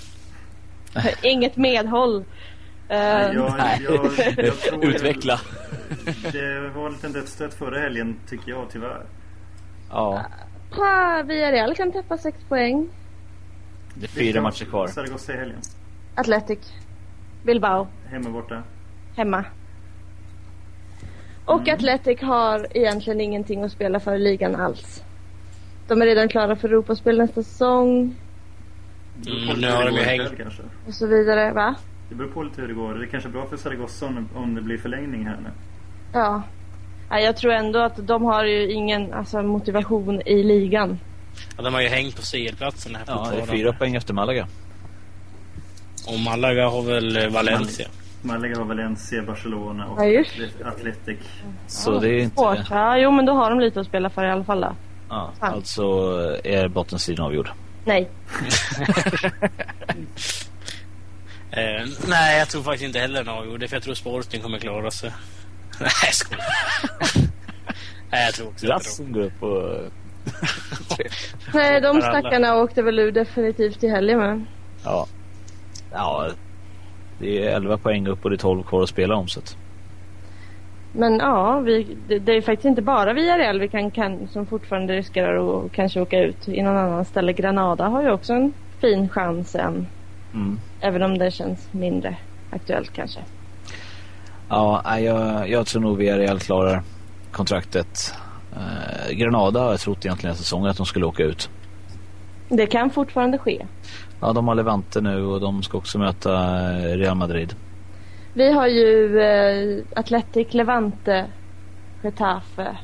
S2: inget medhåll. Eh,
S3: jag, jag, jag, jag tror
S1: Utveckla.
S3: Det var en liten dödsstöt förra helgen tycker jag tyvärr.
S1: Ja,
S2: ah, Villarreal kan tappa sex poäng.
S1: det är fyra matcher kvar.
S3: Zaragoza i helgen.
S2: Athletic. Bilbao.
S3: Hemma borta.
S2: Hemma. Och Athletic har egentligen ingenting att spela för i ligan alls. De är redan klara för Europaspel nästa säsong
S4: Mm, nu har de ju hängt.
S3: Kanske.
S2: och så vidare. Va?
S3: Det beror på lite hur det går. Det kanske är bra för Zaragoza om, om det blir förlängning här nu.
S2: Ja. Nej, jag tror ändå att de har ju ingen alltså, motivation i ligan.
S4: Ja, de har ju hängt på CL-platsen här
S1: Ja, det är
S4: fortfarande.
S1: fyra poäng efter Malaga.
S4: Och Malaga har väl eh, Valencia.
S3: Malaga har Valencia, Barcelona och
S2: Ja, just.
S3: Atletic.
S1: Så det är
S2: Svårt.
S1: inte...
S2: Ja, jo, men då har de lite att spela för i alla fall då.
S1: Ja,
S2: Fan.
S1: alltså är bottenstriden avgjord.
S2: Nej.
S1: Mm.
S4: Eh, nej, jag tror faktiskt inte heller den avgjorde. För jag tror Sporting kommer klara sig. Nej, jag skojar. nej, jag tror också jag tror.
S1: Rassen går upp och...
S2: Nej, de
S4: Alla.
S2: stackarna åkte väl ur definitivt i helgen men.
S1: Ja. ja. Det är 11 poäng upp och det är 12 kvar att spela om. Så att,
S2: Men ja, vi, det, det är faktiskt inte bara Villarreal vi kan, kan, som fortfarande riskerar att kanske åka ut i någon annan ställe. Granada har ju också en fin chans än.
S1: mm.
S2: Även om det känns mindre aktuellt kanske.
S1: Ja, nej, jag, jag tror nog Villarreal klarar kontraktet. Eh, Granada har jag trott egentligen säsongen att de skulle åka ut.
S2: Det kan fortfarande ske.
S1: Ja, de har Levante nu och de ska också möta eh, Real Madrid.
S2: Vi har ju eh, Athletic, Levante, Getafe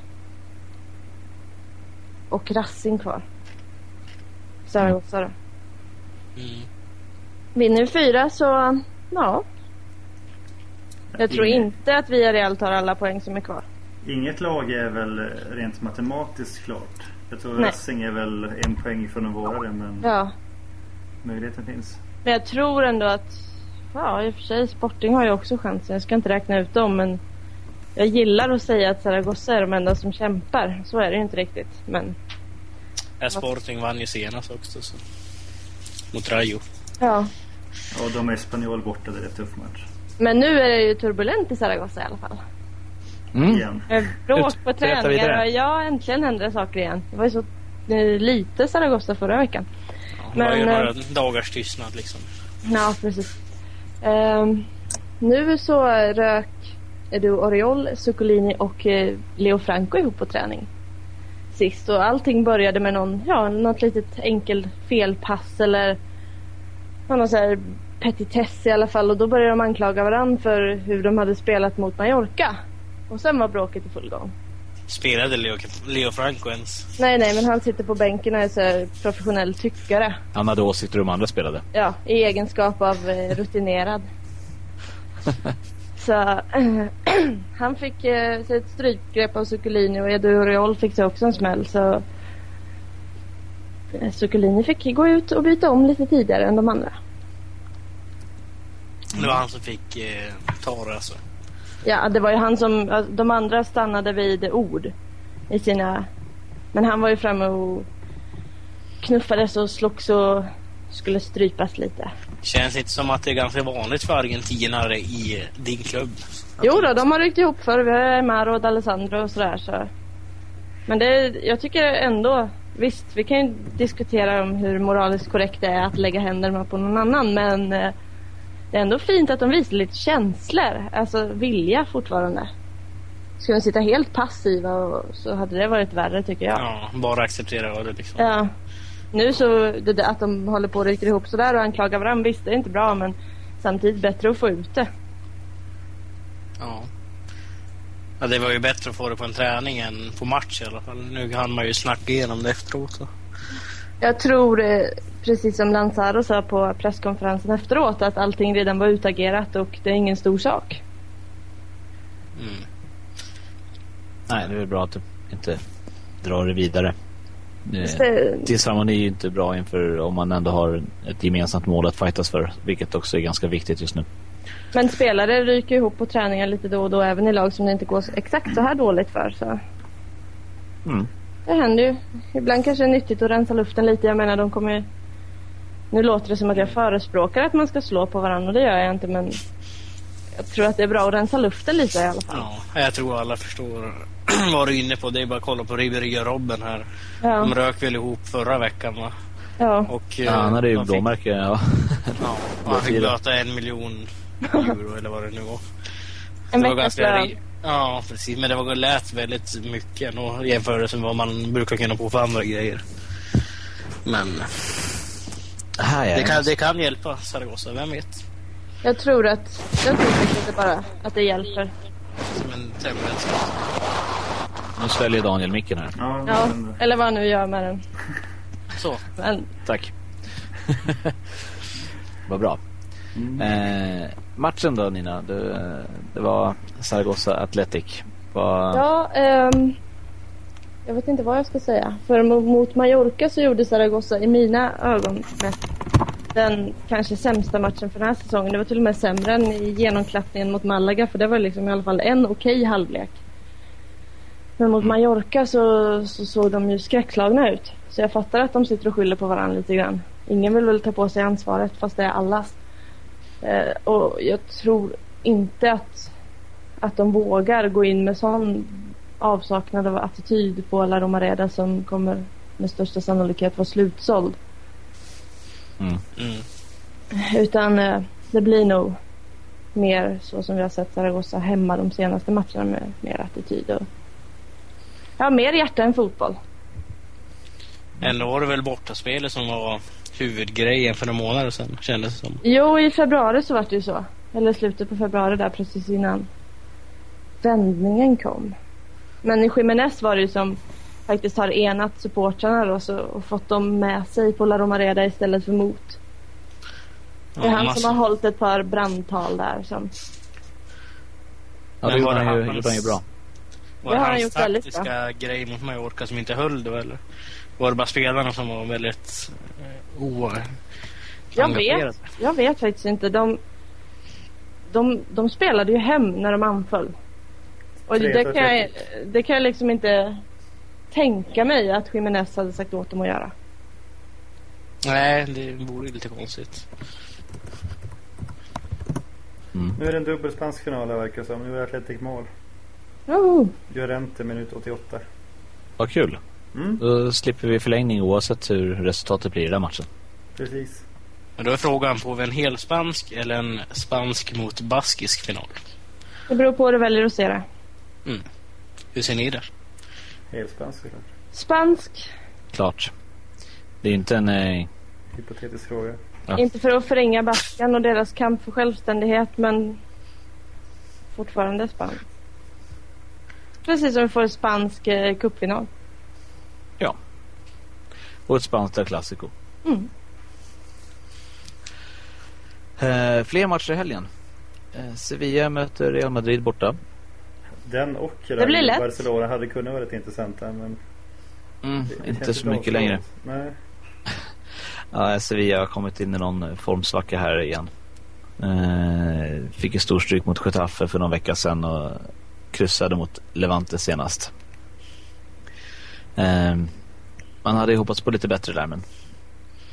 S2: och Racing kvar. Zaragoza då.
S4: Mm.
S2: Vinner vi fyra så, ja. Jag tror
S3: Ingen-
S2: inte att Villarreal tar alla poäng som är kvar.
S3: Inget lag är väl rent matematiskt klart. Jag tror
S2: Nej.
S3: Racing är väl en poäng från att vara det men
S2: Ja.
S3: möjligheten finns.
S2: Men jag tror ändå att, ja i och för sig Sporting har ju också chansen. Jag ska inte räkna ut dem men jag gillar att säga att Zaragoza är de enda som kämpar. Så är det ju inte riktigt. Men
S4: Ja, Sporting vann ju senast också. Så. Mot Rayo.
S2: ja.
S5: Och de är Espanyol borta, det är rätt tuff match.
S2: Men nu är det ju turbulent i Zaragoza i alla fall.
S1: Mm.
S5: Igen.
S2: Det är Eh, Bråk på
S1: Ut- berätta vidare.
S2: träningar och ja, äntligen händer det saker igen. Det var ju så eh, lite Zaragoza förra veckan.
S4: Det var ju
S2: Men, eh,
S4: några dagars tystnad liksom.
S2: Ja, precis. Ehm, nu så rök du Oriol, Zuccolini och eh, Leo Franco ihop på träning sist. Och allting började med någon, ja, något litet enkel felpass eller någon så här petitess i alla fall. Och då började de anklaga varandra för hur de hade spelat mot Mallorca. Och sen var bråket i full gång.
S4: Spelade Leo, Leo Franco ens?
S2: Nej, nej, men han sitter på bänken och är så här professionell tyckare.
S1: Han hade åsikter om andra spelade.
S2: Ja, i egenskap av eh, rutinerad. Så han fick eh, sig ett strykgrepp av Zuccolini och Edu Oriol fick sig också en smäll. Så eh, Zuccolini fick gå ut och byta om lite tidigare än de andra.
S4: Det var han som fick eh, ta det alltså.
S2: Ja, det var ju han som, alltså, de andra stannade vid ord i sina, men han var ju framme och knuffades och slogs och skulle strypas lite.
S4: Känns inte som att det är ganska vanligt för argentinare i eh, din klubb.
S2: Jo då, de har ryckt ihop för Vi har Maro och D'Alessandro och sådär. Så. Men det, jag tycker ändå, visst vi kan ju diskutera om hur moraliskt korrekt det är att lägga händerna på någon annan. Men eh, det är ändå fint att de visar lite känslor, alltså vilja fortfarande. Skulle de sitta helt passiva och, så hade det varit värre tycker jag.
S4: Ja, bara acceptera det liksom.
S2: Ja. Nu så, det, där att de håller på och rycker ihop sådär och anklagar varandra, visst det är inte bra men samtidigt bättre att få ut det.
S4: Ja. ja. Det var ju bättre att få det på en träning än på match i alla fall. Nu hann man ju snacka igenom det efteråt. Så.
S2: Jag tror, eh, precis som Lanzaro sa på presskonferensen efteråt, att allting redan var utagerat och det är ingen stor sak.
S4: Mm.
S1: Nej, det är väl bra att du inte drar det vidare. Eh,
S2: Det-
S1: Disharmoni är ju inte bra inför om man ändå har ett gemensamt mål att fightas för, vilket också är ganska viktigt just nu.
S2: Men spelare ryker ihop på träningar lite då och då, även i lag som det inte går så- exakt så här dåligt för. Så.
S1: Mm.
S2: Det händer ju. Ibland kanske det är nyttigt att rensa luften lite. Jag menar, de kommer ju... Nu låter det som att jag förespråkar att man ska slå på varandra och det gör jag inte, men jag tror att det är bra att rensa luften lite i alla fall.
S4: Ja, jag tror alla förstår vad du är inne på. Det är bara att kolla på Ribéry och Robben här.
S2: Ja,
S4: De rök väl ihop förra veckan va?
S2: ja.
S4: Och, eh,
S1: Ja, han hade ju
S4: de fick-
S1: blåmärke. Ja.
S4: Ja, och han fick böta en miljon euro eller vad det nu var.
S2: En
S4: det var
S2: veckas lön.
S4: ri- Ja, precis. Men det var, lät väldigt mycket ändå i jämförelse med vad man brukar kunna få för andra grejer. Men
S1: Här är
S4: det
S1: det
S4: kan, det kan hjälpa Zaragoza, vem vet?
S2: Jag tror att, jag tror faktiskt att det bara, att det hjälper.
S4: Som en tändvätska.
S1: Nu sväljer Daniel micken här.
S5: Ja,
S2: Ja,
S5: men det-
S2: eller vad han nu gör med den.
S4: Så,
S2: Men,
S1: Tack. Vad bra.
S4: Mm.
S1: Eh, matchen då Nina? Du, eh, det var Zaragoza Athletic. Vad-
S2: ja, ehm, jag vet inte vad jag ska säga. För mo- mot Mallorca så gjorde Zaragoza i mina ögon mest den kanske sämsta matchen för den här säsongen. Det var till och med sämre än i genomklappningen mot Malaga för det var liksom i alla fall en okej halvlek. Men mot Mallorca så, så såg de ju skräckslagna ut. Så jag fattar att de sitter och skyller på varandra lite grann. Ingen vill väl ta på sig ansvaret fast det är allas. Eh, och jag tror inte att, att de vågar gå in med sån avsaknad av attityd på La Romareda som kommer med största sannolikhet vara slutsåld.
S4: mm.
S2: Utan eh, det blir nog mer så som vi har sett Zaragoza hemma de senaste matcherna med mer attityd och ja, mer hjärta än fotboll.
S4: ändå var det väl bortaspelet som var huvudgrejen för några månader sedan, kändes det som.
S2: Jo, i februari så var det ju så. Eller slutet på februari där precis innan vändningen kom. Men i Jiménez var det ju som faktiskt har enat supportrarna då, så, och fått dem med sig på La Romareda istället för mot. Det är
S4: Ja,
S2: han
S4: massa-
S2: som har hållit ett par brandtal där. Som,
S1: ja, det
S4: men var
S1: gjorde
S4: det
S1: han ju,
S4: hans-
S1: gjorde han ju bra.
S4: Var
S2: Det
S4: det
S2: har han
S4: hans
S2: gjort väldigt bra.
S4: taktiska grej mot Mallorca som inte höll då eller? Var det bara spelarna som var väldigt eh, o...
S2: jag,
S4: engagerade?
S2: vet, jag vet faktiskt inte. De, de, de spelade ju hem när de anföll. Och det, det, kan jag, det kan jag liksom inte tänka mig att Jiménez hade sagt åt dem att göra.
S4: Nej, det vore ju lite konstigt.
S1: Mm.
S3: Nu är det en dubbel spansk final här verkar det som. Nu är det Atletic mål.
S2: Oh.
S3: Llorente minut 88.
S1: Vad kul.
S3: Mm,
S1: Då slipper vi förlängning oavsett hur resultatet blir i den här matchen.
S3: precis.
S4: Men då är frågan, får vi en hel spansk eller en spansk mot baskisk final?
S2: Det beror på hur du väljer att se det.
S4: Hur ser ni det?
S3: Helspansk såklart.
S2: Spansk,
S1: Klart. Det är ju inte en... Eh,
S3: Hypotetisk fråga.
S1: Ja.
S2: inte för att förringa Baskan och deras kamp för självständighet men fortfarande spansk. Precis som vi får spansk eh, cupfinal.
S1: och ett spanskt klassiko.
S2: Mm.
S1: Eh, fler matcher i helgen. Eh, Sevilla möter Real Madrid borta.
S3: Den och
S2: blir lätt.
S3: Barcelona hade kunnat vara rätt intressanta men...
S1: Mm,
S3: det känns
S1: inte så
S3: lite
S1: mycket längre.
S3: avslaget. Nej.
S1: Ja, Sevilla har kommit in i någon formsvacka här igen. Eh, fick en stor stryk mot Getafe för någon vecka sedan och kryssade mot Levante senast. Eh, man hade ju hoppats på lite bättre där men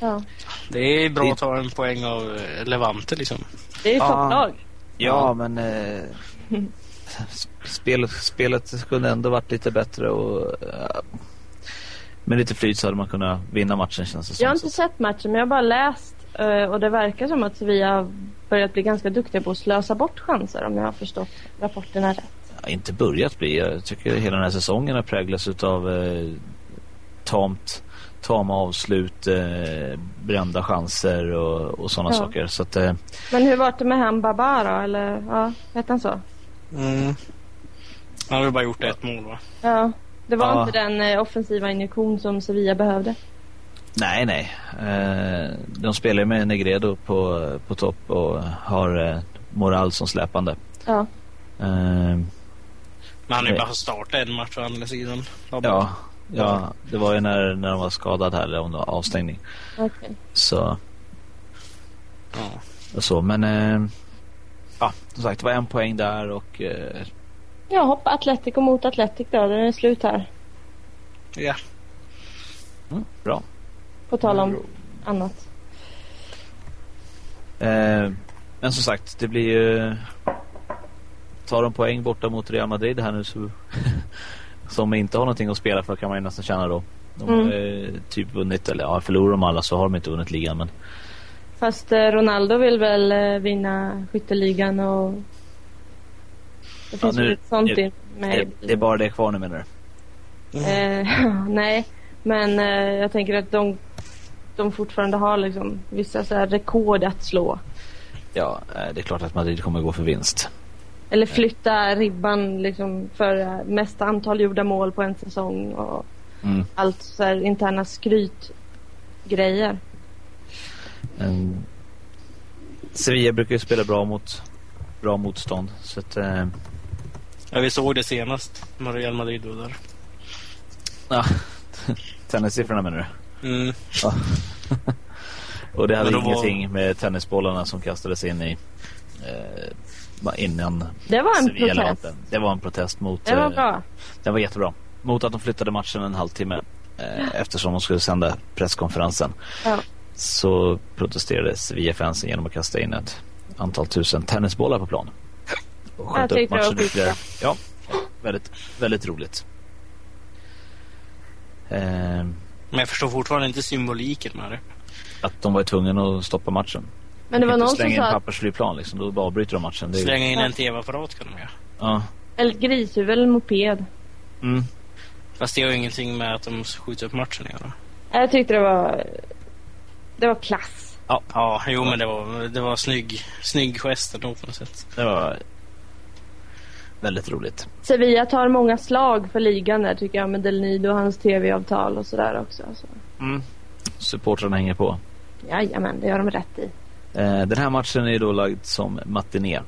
S2: Ja.
S4: Det är bra att ta en poäng av eh, Levante liksom.
S2: Det är ju
S1: Ja.
S2: topplag.
S1: Ja, men eh, s- spelet, spelet kunde ändå varit lite bättre och eh, med lite flyt så hade man kunnat vinna matchen känns det som.
S2: Jag har inte sett matchen men jag har bara läst eh, och det verkar som att Sevilla har börjat bli ganska duktiga på att slösa bort chanser om jag har förstått rapporterna rätt.
S1: Ja, inte börjat bli. Jag tycker hela den här säsongen har präglats utav eh, tamt, tama avslut, eh, brända chanser och, och sådana
S2: Ja.
S1: saker. Så att, eh,
S2: Men hur var det med han Baba då? Eller ja, hette han så?
S4: Han har väl bara gjort ett mål va?
S2: Ja. Det var
S1: Ja.
S2: inte den eh, offensiva injektion som Sevilla behövde.
S1: Nej, nej. Eh, de spelar ju med Negredo på, på topp och har eh, Moral som släpande.
S2: Ja.
S1: Eh,
S4: Men han har ju
S1: Nej.
S4: bara startat en match å andra sidan.
S1: Ja, ja det var ju när, när de var skadade här, eller om det var avstängning.
S2: okej.
S1: Så,
S4: Ja.
S1: och så. Men eh, ja, som sagt, det var en poäng där och eh,
S2: Ja, hoppa Atletico mot Atletic då. Den är slut här.
S4: ja.
S1: mm, bra.
S2: På tal om annat.
S1: Eh, men som sagt, det blir ju... Tar de poäng borta mot Real Madrid här nu så, som inte har någonting att spela för kan man ju nästan känna då. De har
S2: Mm.
S1: eh, typ vunnit, eller ja, förlorar de alla så har de inte vunnit ligan. Men
S2: Fast eh, Ronaldo vill väl eh, vinna skytteligan och det finns
S1: nu-
S2: väl ett sånt
S1: det-
S2: in med.
S1: det, det är bara det kvar nu menar du?
S2: Eh, nej, men eh, jag tänker att de, de fortfarande har liksom vissa så här rekord att slå.
S1: Ja, eh, det är klart att Madrid kommer gå för vinst.
S2: Eller flytta ribban liksom för eh, mest antal gjorda mål på en säsong och
S1: Mm.
S2: allt så här interna skrytgrejer.
S1: Men Sevilla brukar ju spela bra mot bra motstånd. Så att, eh,
S4: ja, vi såg det senast. när Real Madrid var där.
S1: ja, tennissiffrorna menar du?
S4: Mm.
S1: Och det hade
S4: Men de var-
S1: ingenting med tennisbollarna som kastades in i eh, va- innan
S2: Det var en
S1: Sevilla
S2: protest.
S1: lampen. Det var en protest mot...
S2: Det var
S1: eh,
S2: bra.
S1: det var jättebra. Mot att de flyttade matchen en halvtimme eh, eftersom de skulle sända presskonferensen.
S2: Ja.
S1: Så protesterade Sevilla-fansen genom att kasta in ett antal tusen tennisbollar på plan. Och
S2: Jag
S1: sköt upp
S2: tyckte det var
S1: matchen ytterligare.
S2: skitbra.
S1: Ja, väldigt, väldigt roligt. Eh,
S4: Men jag förstår fortfarande inte symboliken med det.
S1: att de var tvungna att stoppa matchen.
S2: Men det var
S1: Inte
S2: någon som
S1: slänga
S2: sa
S1: in
S2: att
S1: pappersflygplan liksom, då bara avbryter de matchen. Det är, ju-
S4: Slänga in
S2: Ja.
S4: en tv-apparat kan de göra.
S1: ja.
S2: eller ett grishuvud eller en moped.
S1: mm.
S4: Fast det har ju ingenting med att de skjuter upp matchen att göra.
S2: Jag tyckte det var, det var klass.
S4: Ja, jo men det var, det var snygg, snygg gest ändå på något sätt.
S1: Det var väldigt roligt.
S2: Sevilla tar många slag för ligan där tycker jag med Del Nido och hans tv-avtal och sådär också. Så.
S1: Mm. Supportrarna hänger på.
S2: Jajamän, det gör de rätt i.
S1: Eh, den här matchen är ju då lagd som matiné.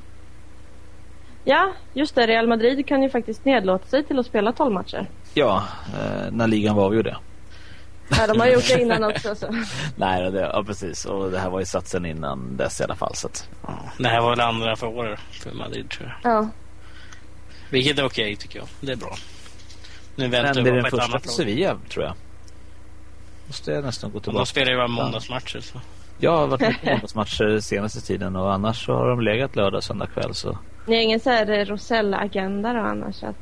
S2: Ja, just det. Real Madrid kan ju faktiskt nedlåta sig till att spela 12 matcher.
S1: Ja, eh, när ligan var avgjord ja.
S2: Ja, de har gjort det innan också. Så.
S1: Nej, det, ja precis. Och det här var ju satsen innan dess i alla fall. Så att,
S4: Ja, Det här var det andra för året för Madrid tror jag.
S2: Ja.
S4: Vilket är okej tycker jag. Det är bra. Nu
S1: men
S4: väntar
S1: det är den
S4: vi på ett
S1: första för
S4: annat lag.
S1: Sevilla tror jag. Måste jag nästan gå
S4: De
S1: tillbaka.
S4: spelar ju bara måndagsmatcher så.
S1: Jag har varit mycket på fotbollsmatcher senaste tiden och annars så har de legat lördag, söndag kväll. Så.
S2: Ni har ingen så här eh, Rosell-agenda då annars? Att,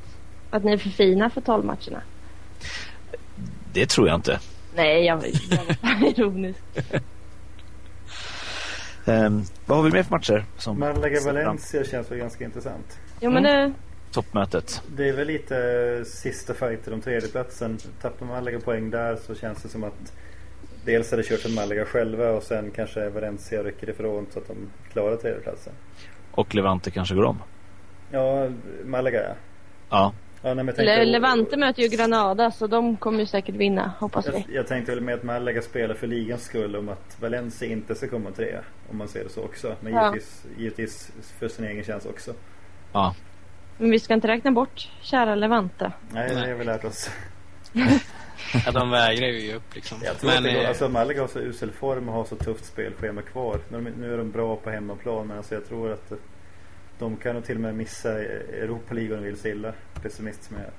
S2: att ni är för fina för talmatcherna?
S1: Det tror jag inte.
S2: Nej, jag, jag var bara ironisk.
S1: Ehm, vad har vi mer för matcher? Som
S3: Malaga Valencia känns väl ganska intressant.
S2: Jo
S1: Mm.
S2: men det,
S1: Toppmötet.
S3: Det är väl lite eh, sista fighten om tredjeplatsen. Tappar Malaga poäng där så känns det som att dels är det kört för Malaga själva och sen kanske Valencia rycker ifrån så att de klarar tredjeplatsen.
S1: Och Levante kanske går om.
S3: Ja, Malaga ja.
S1: Ja,
S3: ja nej, men jag tänkte-
S2: Le, Levante möter ju Granada så de kommer ju säkert vinna, hoppas vi.
S3: Jag, jag tänkte väl med att Malaga spelar för ligans skull om att Valencia inte ska komma trea. Om man ser det så också. Men
S2: Ja.
S3: givetvis, givetvis för sin egen tjänst också.
S1: ja.
S2: Men vi ska inte räkna bort kära Levante.
S3: Nej, det
S4: Nej.
S3: har vi lärt oss.
S4: Ja, de vägrar ju ge upp liksom.
S3: Jag tror
S4: Men
S3: att det går,
S4: eh,
S3: alltså, Malaga har så usel form och har så tufft spelschema kvar. Nu, är de- nu är de bra på hemmaplan men alltså, jag tror att eh, de kan nog till och med missa eh, Europa League om de vill så illa. Pessimist som jag är.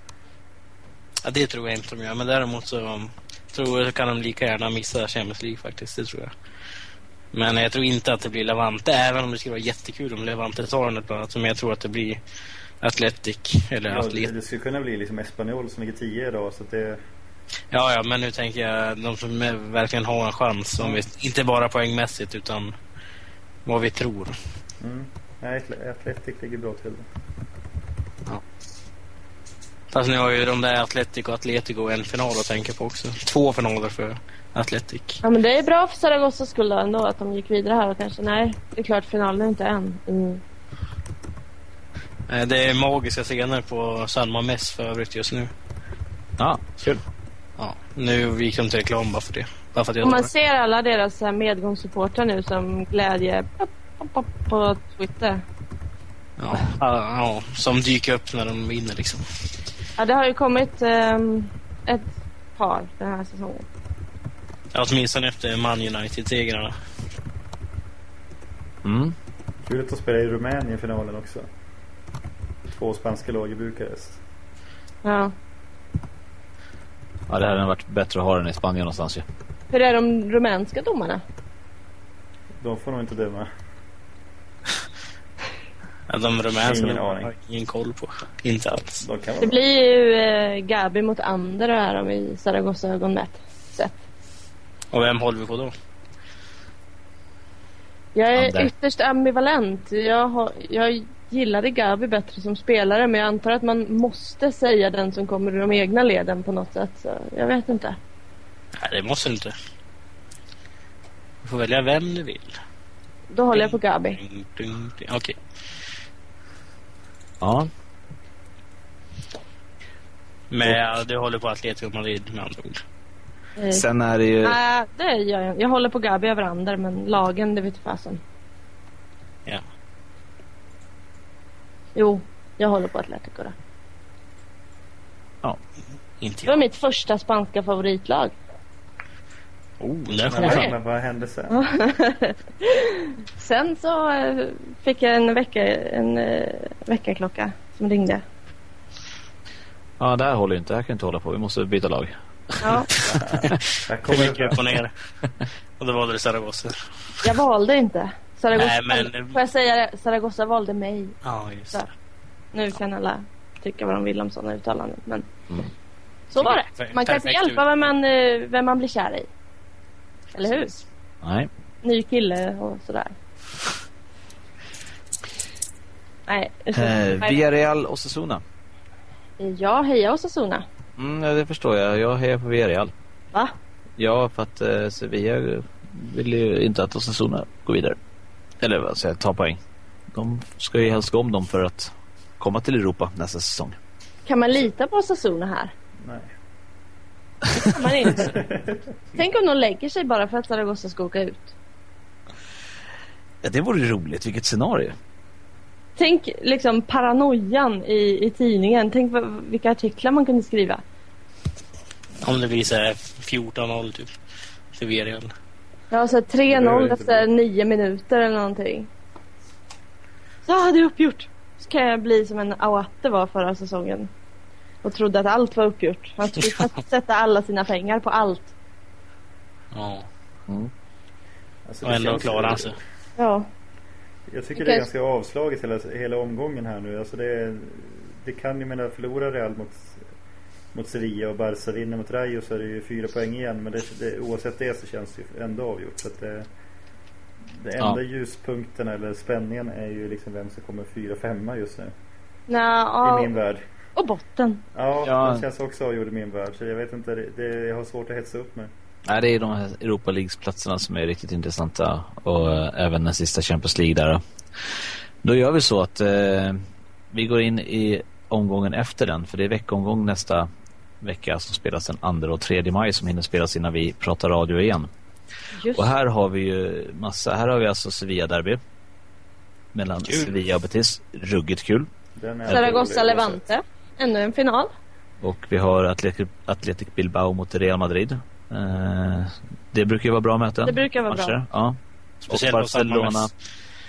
S4: ja, det tror jag inte de gör. Men däremot så um, tror jag kan de lika gärna missa Champions League faktiskt. Det tror jag. Men jag tror inte att det blir Levante, även om det skulle vara jättekul om Levante tar den bland annat. Men jag tror att det blir Athletic eller
S3: Ja, det,
S4: Atlet.
S3: det skulle kunna bli liksom Espanyol som ligger 10 idag så att det...
S4: Ja, ja, men nu tänker jag de som är- verkligen har en chans. Om vi, inte bara poängmässigt utan vad vi tror.
S3: Mm. Nej, Atl- Atletic ligger bra till.
S4: Fast nu har ju de där Atletico och Atletico en final att tänka på också. Två finaler för Atletic.
S2: Ja men det är bra för Saragossas skull då ändå att de gick vidare här och kanske nej, det är klart finalen är inte än. Mm.
S4: Eh, Det är magiska scener på San Mames för övrigt just nu.
S1: ja kul.
S4: Ja, nu gick de till reklam bara för det. Bara för att jag
S2: Om man
S4: tar
S2: ser alla deras så här medgångssupportrar nu som glädje pop, pop, pop, på Twitter.
S4: det. ja, ja, ja, som dyker upp när de vinner liksom.
S2: Ja det har ju kommit ehm, ett par den här säsongen.
S4: Ja, åtminstone efter Man United-segrarna.
S1: Mm.
S3: Kul att de spelar i Rumänien i finalen också. Två spanska lag i Bukarest.
S2: Ja.
S1: Ja, det hade varit bättre att ha den i Spanien någonstans ju.
S2: Hur är de rumänska domarna?
S3: De får nog inte döma.
S4: Ja, de rumänska
S3: Ingen
S4: de har
S3: aning.
S4: jag ingen koll på. Inte alls.
S3: De kan
S2: Det
S3: vara bra.
S2: blir ju eh, Gabi mot Ander här om i Saragossa ögonmätt sett.
S4: Och vem håller vi på då?
S2: Jag är
S1: Ander.
S2: ytterst ambivalent. Jag, har, jag gillade Gabi bättre som spelare men jag antar att man måste säga den som kommer ur de egna leden på något sätt. Så jag vet inte.
S4: Nej, det måste du inte. Du får välja vem du vill.
S2: Då håller jag på Gabi.
S4: Ding, ding, ding. Okej.
S1: Ja,
S4: Men ja, du håller på Atletico Madrid med andra ord.
S2: Eh,
S1: sen är det ju...
S2: Nej, det gör jag Jag håller på Gabi över Ander men lagen det vet fasen.
S4: Ja.
S2: Jo, jag håller på Atletico då.
S4: Inte
S2: Det var
S4: jag.
S2: mitt första spanska favoritlag.
S4: Oh, där
S3: Men,
S4: kommer
S2: Nej.
S4: jag.
S3: men vad hände sen?
S2: Sen så eh, fick jag en, vecka, en eh, väckarklocka som ringde.
S1: Ja, där håller ju inte. Här kan jag inte hålla på. Vi måste byta lag.
S2: Ja,
S3: Jag
S4: Hur
S3: kommer
S4: mycket upp och ner. Och då valde du Saragossa.
S2: jag valde inte. Saragossa,
S4: Nej, men-
S2: Får jag säga det? Saragossa valde mig.
S4: Ja, just
S2: det. Nu kan alla tycka vad de vill om sådana uttalanden. Men
S1: Mm.
S2: så var det.
S4: Perfekt.
S2: Man kan inte hjälpa vem man, eh, vem man blir kär i. Eller hur?
S1: Nej.
S2: Ny kille och sådär. Nej,
S1: Eh,
S2: ursäkta.
S1: Villarreal och Sasuna.
S2: Ja, heja Osasuna.
S1: Mm, ja, det förstår jag. Jag hejar på Villarreal.
S2: Va?
S1: Ja, för att eh, Sevilla vill ju inte att Osasuna går vidare. Eller vad säger jag, ta poäng. De ska ju helst gå om dem för att komma till Europa nästa säsong.
S2: Kan man lita på Osasuna här?
S3: Nej.
S2: Kan man inte. Tänk om de lägger sig bara för att Zaragoza ska åka ut.
S1: Ja, det vore ju roligt. Vilket scenario.
S2: Tänk liksom paranoian i, i tidningen. Tänk vad, vilka artiklar man kunde skriva.
S4: Om det blir så här 14-0 typ. Till Villarreal.
S2: Ja, så här
S3: Det behöver
S2: 3-0
S3: inte
S2: efter
S3: bli.
S2: nio minuter eller någonting. Så ah, det är uppgjort. Så kan jag bli som en Awate var förra säsongen. Och trodde att allt var uppgjort. Han skulle sätta alla sina pengar på allt.
S4: Ja.
S3: Alltså,
S4: Och
S3: det
S4: ändå
S3: känns-
S4: klarar han sig.
S2: Ja.
S3: Jag tycker
S2: Det
S3: det är
S2: kanske-
S3: ganska avslaget hela, hela omgången här nu. Alltså det, det kan ju mena förlora Real mot, mot Sevilla och Barca vinner mot Rayo så är det ju fyra poäng igen. Men det, det, oavsett det så känns det ju ändå avgjort. Så att det, det
S1: Ja.
S3: enda ljuspunkten eller spänningen är ju liksom vem som kommer fyra, femma just nu.
S2: Nja,
S3: I min
S2: ja.
S3: värld.
S2: Och botten.
S3: Ja,
S1: Ja.
S3: det känns också avgjord i min värld. Så jag vet inte, det, det, jag har svårt att hetsa upp mig.
S1: Nej, det är de här Europa League-platserna som är riktigt intressanta och eh, även den sista Champions League där. Då gör vi så att eh, vi går in i omgången efter den för det är veckomgång nästa vecka som spelas den 2 och 3 maj som hinner spelas innan vi pratar radio igen.
S2: Just
S1: Och här har vi ju massa, här har vi alltså Sevilla-derby mellan
S4: Kul.
S1: Sevilla och Betis. Ruggigt kul.
S3: Den är
S2: Zaragoza
S3: rolig på något sätt.
S2: Levante. Ännu en final.
S1: Och vi har Atletic, Atletic Bilbao mot Real Madrid. Eh, det brukar ju vara bra möten.
S2: Det brukar vara bra.
S1: Ja.
S4: Speciellt
S1: och
S4: på samma
S1: Barcelona.
S4: mäss.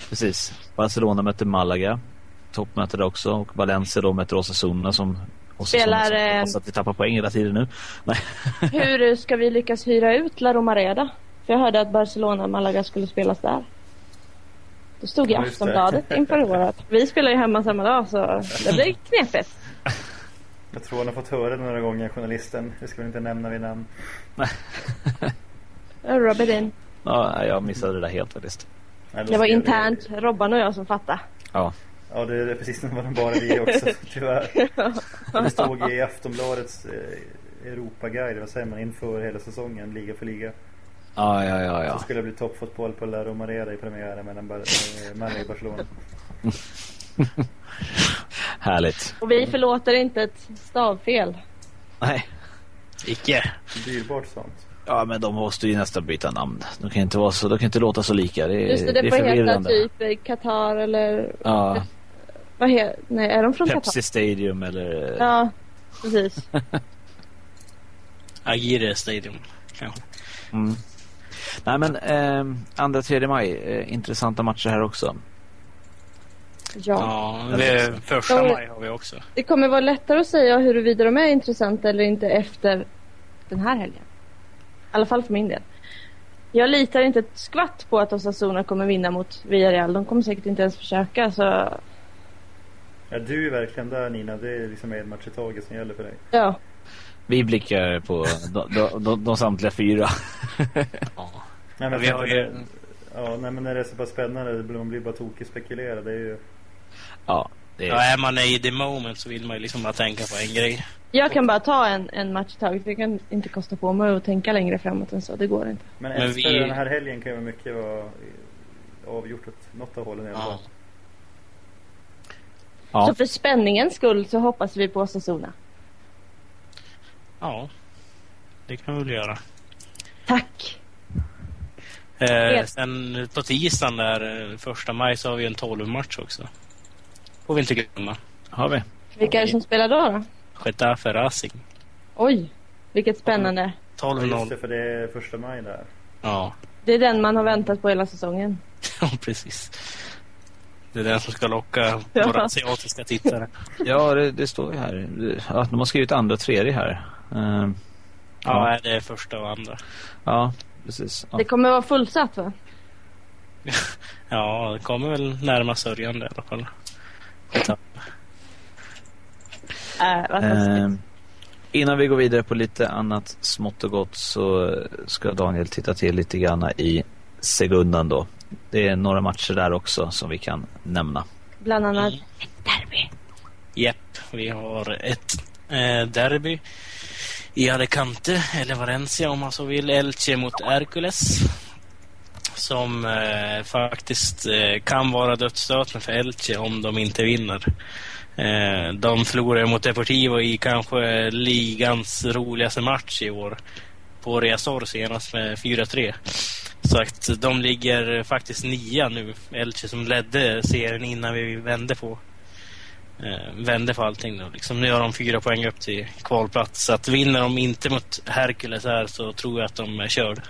S1: Precis. Barcelona möter Malaga. Toppmöte där också. Och Valencia då möter Osasuna som... Osasuna
S2: Spelar,
S1: som-
S2: eh,
S1: Hoppas att vi tappar poäng hela tiden nu. Nej.
S2: Hur ska vi lyckas hyra ut La Romareda? För jag hörde att Barcelona och Malaga skulle spelas där. Då stod i
S3: Ja, just det.
S2: Aftonbladet inför året. Vi spelar ju hemma samma dag så det blir knepigt.
S3: Jag tror han har fått höra det några gånger, journalisten. Vi ska väl inte nämna vid namn.
S2: Jag Robbar in.
S1: Ja, jag missade det där helt faktiskt.
S3: Nej, då
S2: Det var
S3: skrev
S2: internt Robban och jag som fattade.
S1: Ja.
S3: Ja, det är precis vad de bara vi också, tyvärr. Det stod i Aftonbladets eh, Europaguide, vad säger man, inför hela säsongen, liga för liga.
S1: Ja, ja, ja,
S3: Så
S1: ja.
S3: skulle det bli toppfotboll på La Romareda i premiären mellan Bar- eh, Malaga och Barcelona.
S1: Härligt.
S2: Och vi förlåter inte ett stavfel.
S1: Nej.
S4: Icke.
S3: Dyrbart sånt.
S1: Ja, men de måste ju nästan byta namn. De kan inte vara så, de kan inte låta så lika. Det, är-
S2: Just det, det
S1: är
S2: får heta
S1: förvirrande.
S2: typ eh, Qatar eller
S1: Ja,
S2: vad he- Nej, är de från Qatar?
S1: Pepsi Stadium eller...
S2: Ja, precis.
S4: Agire Stadium. Kanske.
S1: Mm. Nej men, ehm, andra 3 maj, eh, intressanta matcher här också.
S2: Ja.
S4: Ja, det är första
S2: Ja.
S4: maj har vi också.
S2: Det kommer vara lättare att säga huruvida de är intressanta eller inte efter den här helgen. I alla fall för min del. Jag litar inte ett skvatt på att Osasuna kommer vinna mot Villarreal. De kommer säkert inte ens försöka. Så
S3: Ja, du är verkligen där Nina. Det är liksom en match i taget som gäller för dig.
S2: ja,
S1: Vi blickar på de, de, de, de samtliga fyra.
S4: Ja.
S3: Nej,
S4: Men
S3: men,
S4: vi har ju,
S3: ja, nej, men när det är så pass spännande, det blir- man blir bara tokig spekulera. Det är ju...
S1: Ja, det
S4: ja,
S1: är,
S4: är man i the moment så vill man ju liksom bara tänka på en grej.
S2: jag kan bara ta en, en match i taget. Jag kan inte kosta på mig att tänka längre framåt än så. Det går inte.
S3: Men,
S4: Men
S3: efter
S4: vi-
S3: den här helgen kan ju mycket vara eh, avgjort åt något av hållen i alla fall.
S4: Ja.
S1: Ja.
S2: Så för spänningens skull så hoppas vi på Osasuna.
S4: Ja, det kan vi väl göra.
S2: Tack!
S4: Eh,
S2: Helt.
S4: sen på tisdagen där, eh, första maj, så har vi en 12-match också. Får vi inte glömma.
S1: har vi.
S2: Vilka är det som spelar då? då?
S4: Getafe Racing.
S2: Oj, vilket spännande.
S3: Ja, just det,
S4: 12-0.
S3: för det är första maj där.
S4: Ja,
S2: Det är den man har väntat på hela säsongen.
S4: ja, precis. Det är den som ska locka
S2: Ja.
S4: våra asiatiska tittare.
S1: Ja, det, det står ju här. Ja, de har skrivit andra och tredje här. Ehm,
S4: Ja, det är första och andra.
S1: ja, precis. Ja.
S2: Det kommer vara fullsatt va?
S4: Ja, det kommer väl närma sörjande i alla fall.
S2: Äh, vad konstigt.
S1: Ehm, innan vi går vidare på lite annat smått och gott så ska Daniel titta till lite grann i segundan då. Det är några matcher där också som vi kan nämna.
S2: Bland annat
S4: Mm.
S2: ett derby.
S4: Japp, vi har ett eh, derby i Alicante, eller Valencia om man så vill. Elche mot Hercules. Som eh, faktiskt eh, kan vara dödsstöten för Elche om de inte vinner. Eh, de förlorade mot Deportivo i kanske ligans roligaste match i år. På Reasor senast med 4-3. Så att de ligger faktiskt nia nu. Elche som ledde serien innan vi vände på eh, vände på allting. Då. Liksom, nu har de fyra poäng upp till kvalplats. Så att vinner de inte mot Hercules här så tror jag att de är körd.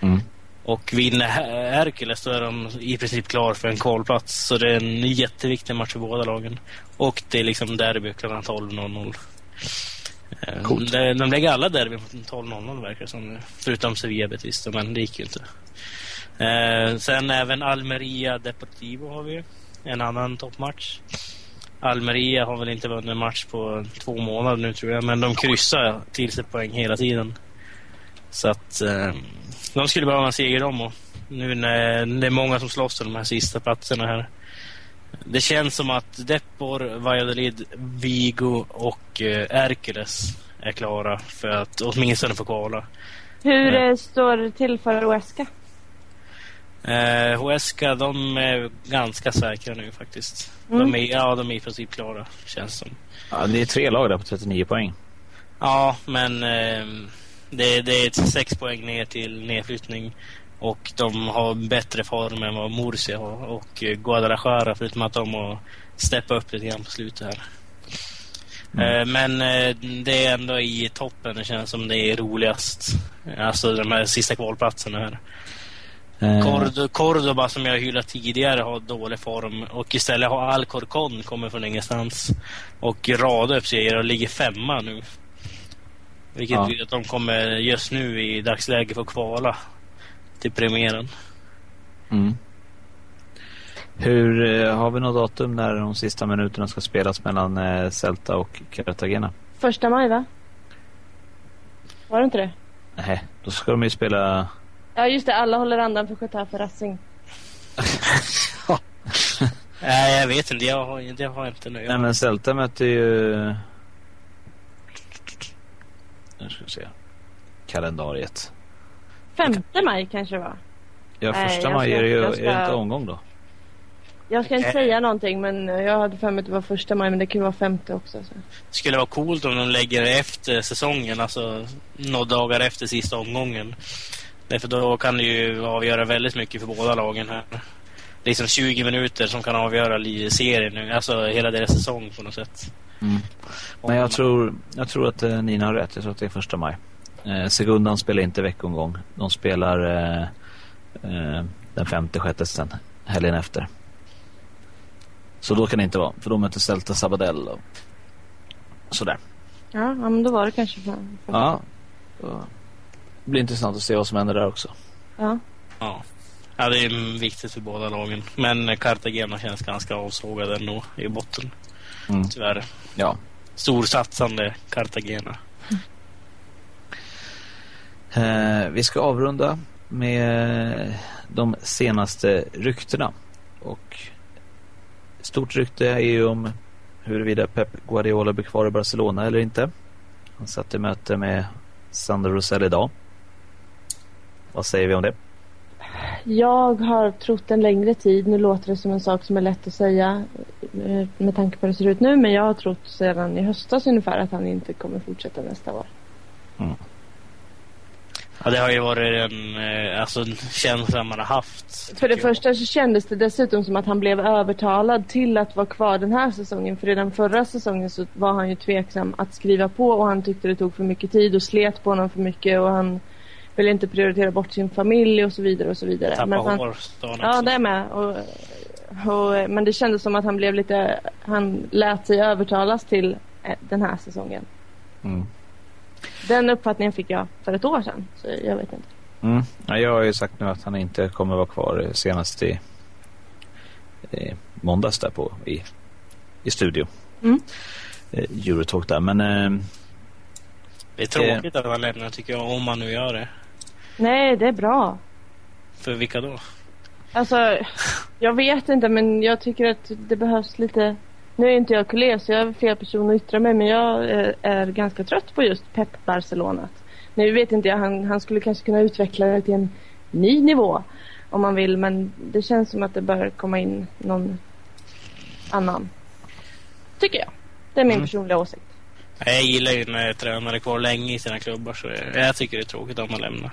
S1: Mm.
S4: Och vinner Her- Hercules då är de i princip klar för en kvalplats. Så det är en jätteviktig match för båda lagen. Och det är liksom derby klockan 12.00. Eh,
S1: Coolt.
S4: De, de lägger alla derbyn på 12.00 verkar det som. nu. Förutom Sevilla Betis, då, men det gick ju inte. Eh, sen även Almeria Deportivo har vi. En annan toppmatch. Almeria har väl inte vunnit en match på två månader nu tror jag, men de kryssar till sig poäng hela tiden. Så att eh, de skulle behöva en seger om och nu när det är många som slåss om de här sista platserna här. Det känns som att Depor, Valladolid, Vigo och eh, Hercules är klara för att åtminstone få kvala.
S2: Hur
S4: Nej.
S2: eh, står det till för Oeska?
S4: Eh, Huesca, de är ganska säkra nu faktiskt.
S2: Mm.
S4: De, är, ja, de är i princip klara, känns som.
S1: Ja, det är tre lag där på 39 poäng.
S4: Ja, men eh, det, det är ett sex poäng ner till nedflyttning. Och de har bättre form än vad Murcia har och eh, Guadalajara förutom att de har steppat upp lite grann på slutet här. Eh, Men eh, det är ändå i toppen det känns som det är roligast. Alltså de här sista kvalplatserna här.
S1: Eh,
S4: Cord- Cordoba som jag hyllat tidigare har dålig form och istället har Alcorcon kommer från ingenstans och radar upp segrar och ligger femma nu. Vilket
S1: Ja.
S4: gör att de kommer just nu i dagsläget få kvala till premiären.
S1: Mm. Hur, eh, har vi något datum när de sista minuterna ska spelas mellan eh, Celta och Cartagena?
S2: Första maj va? Var det inte det?
S1: Nej, då ska de ju spela...
S2: Ja just det, alla håller andan för Getafe Racing.
S4: Nej, jag vet inte. Jag har, det har jag inte nu.
S1: Nej men Celta möter ju... Nu ska vi se. Kalendariet.
S2: Femte maj kanske det var.
S1: Ja,
S2: Nej,
S1: första
S2: jag
S1: maj
S2: ska-
S1: är det ju
S2: jag ska-
S1: är det inte omgång då.
S2: Jag ska inte
S4: Eh.
S2: säga någonting men eh, jag hade för mig att det var första maj men det kan ju vara femte också. Så.
S4: skulle vara coolt om de lägger det efter säsongen, alltså några dagar efter sista omgången. Därför då kan det ju avgöra väldigt mycket för båda lagen här. Liksom 20 minuter som kan avgöra li- serien nu, alltså hela deras säsong på något sätt.
S1: Mm. Men jag tror, jag tror att eh, Nina har rätt. Jag tror att det är första maj. Eh, Segundan spelar inte veckomgång. De spelar eh, eh, den femte, sjätte sen. Helgen efter. Så då kan det inte vara. För då möter Celta Sabadell och sådär.
S2: Ja, ja men då var det kanske fem.
S1: Ja. Då- Det blir intressant att se vad som händer där också.
S2: Ja.
S4: Ja. ja, det är ju viktigt för båda lagen. Men Cartagena känns ganska avsågad ändå i botten,
S1: Mm.
S4: tyvärr.
S1: Ja.
S4: Storsatsande Cartagena.
S1: Eh, vi ska avrunda med de senaste ryktena. Och stort rykte är ju om huruvida Pep Guardiola blir kvar i Barcelona eller inte. Han satt i möte med Sandro Rosell idag. Vad säger vi om det?
S2: Jag har trott en längre tid, nu låter det som en sak som är lätt att säga eh, med tanke på hur det ser ut nu men jag har trott sedan i höstas ungefär att han inte kommer fortsätta nästa år.
S4: Ja, det har ju varit en eh, alltså, en känsla man har haft.
S2: För det
S4: tycker jag.
S2: första så kändes det dessutom som att han blev övertalad till att vara kvar den här säsongen. För redan förra säsongen så var han ju tveksam att skriva på och han tyckte det tog för mycket tid och slet på honom för mycket och han ville inte prioritera bort sin familj och så vidare och så vidare.
S4: Tappa
S2: Men han-
S4: hår, sa han
S2: Ja,
S4: också.
S2: det är med. Och, och, men det kändes som att han blev lite, han lät sig övertalas till eh, den här säsongen.
S1: Mm.
S2: Den uppfattningen fick jag för ett år sedan, så jag vet inte.
S1: Mm. Ja, jag har ju sagt nu att han inte kommer vara kvar senast i, i måndags där på i, i studio.
S2: Mm.
S1: Eh, Eurotalk där. Men eh,
S4: Det är tråkigt att han lämnar tycker jag, om han nu gör det.
S2: Nej, det är bra.
S4: För vilka då?
S2: Alltså, jag vet inte men jag tycker att det behövs lite Nu är inte jag kollega så jag är fel person att yttra mig men jag eh, är ganska trött på just Pep Barcelona. Nu vet inte jag, han, han skulle kanske kunna utveckla det till en ny nivå om man vill men det känns som att det bör komma in någon annan. Tycker jag. Det är min
S4: Mm.
S2: personliga åsikt.
S4: Nej, Jag gillar ju när tränare är kvar länge i sina klubbar så jag, jag tycker det är tråkigt om han lämnar.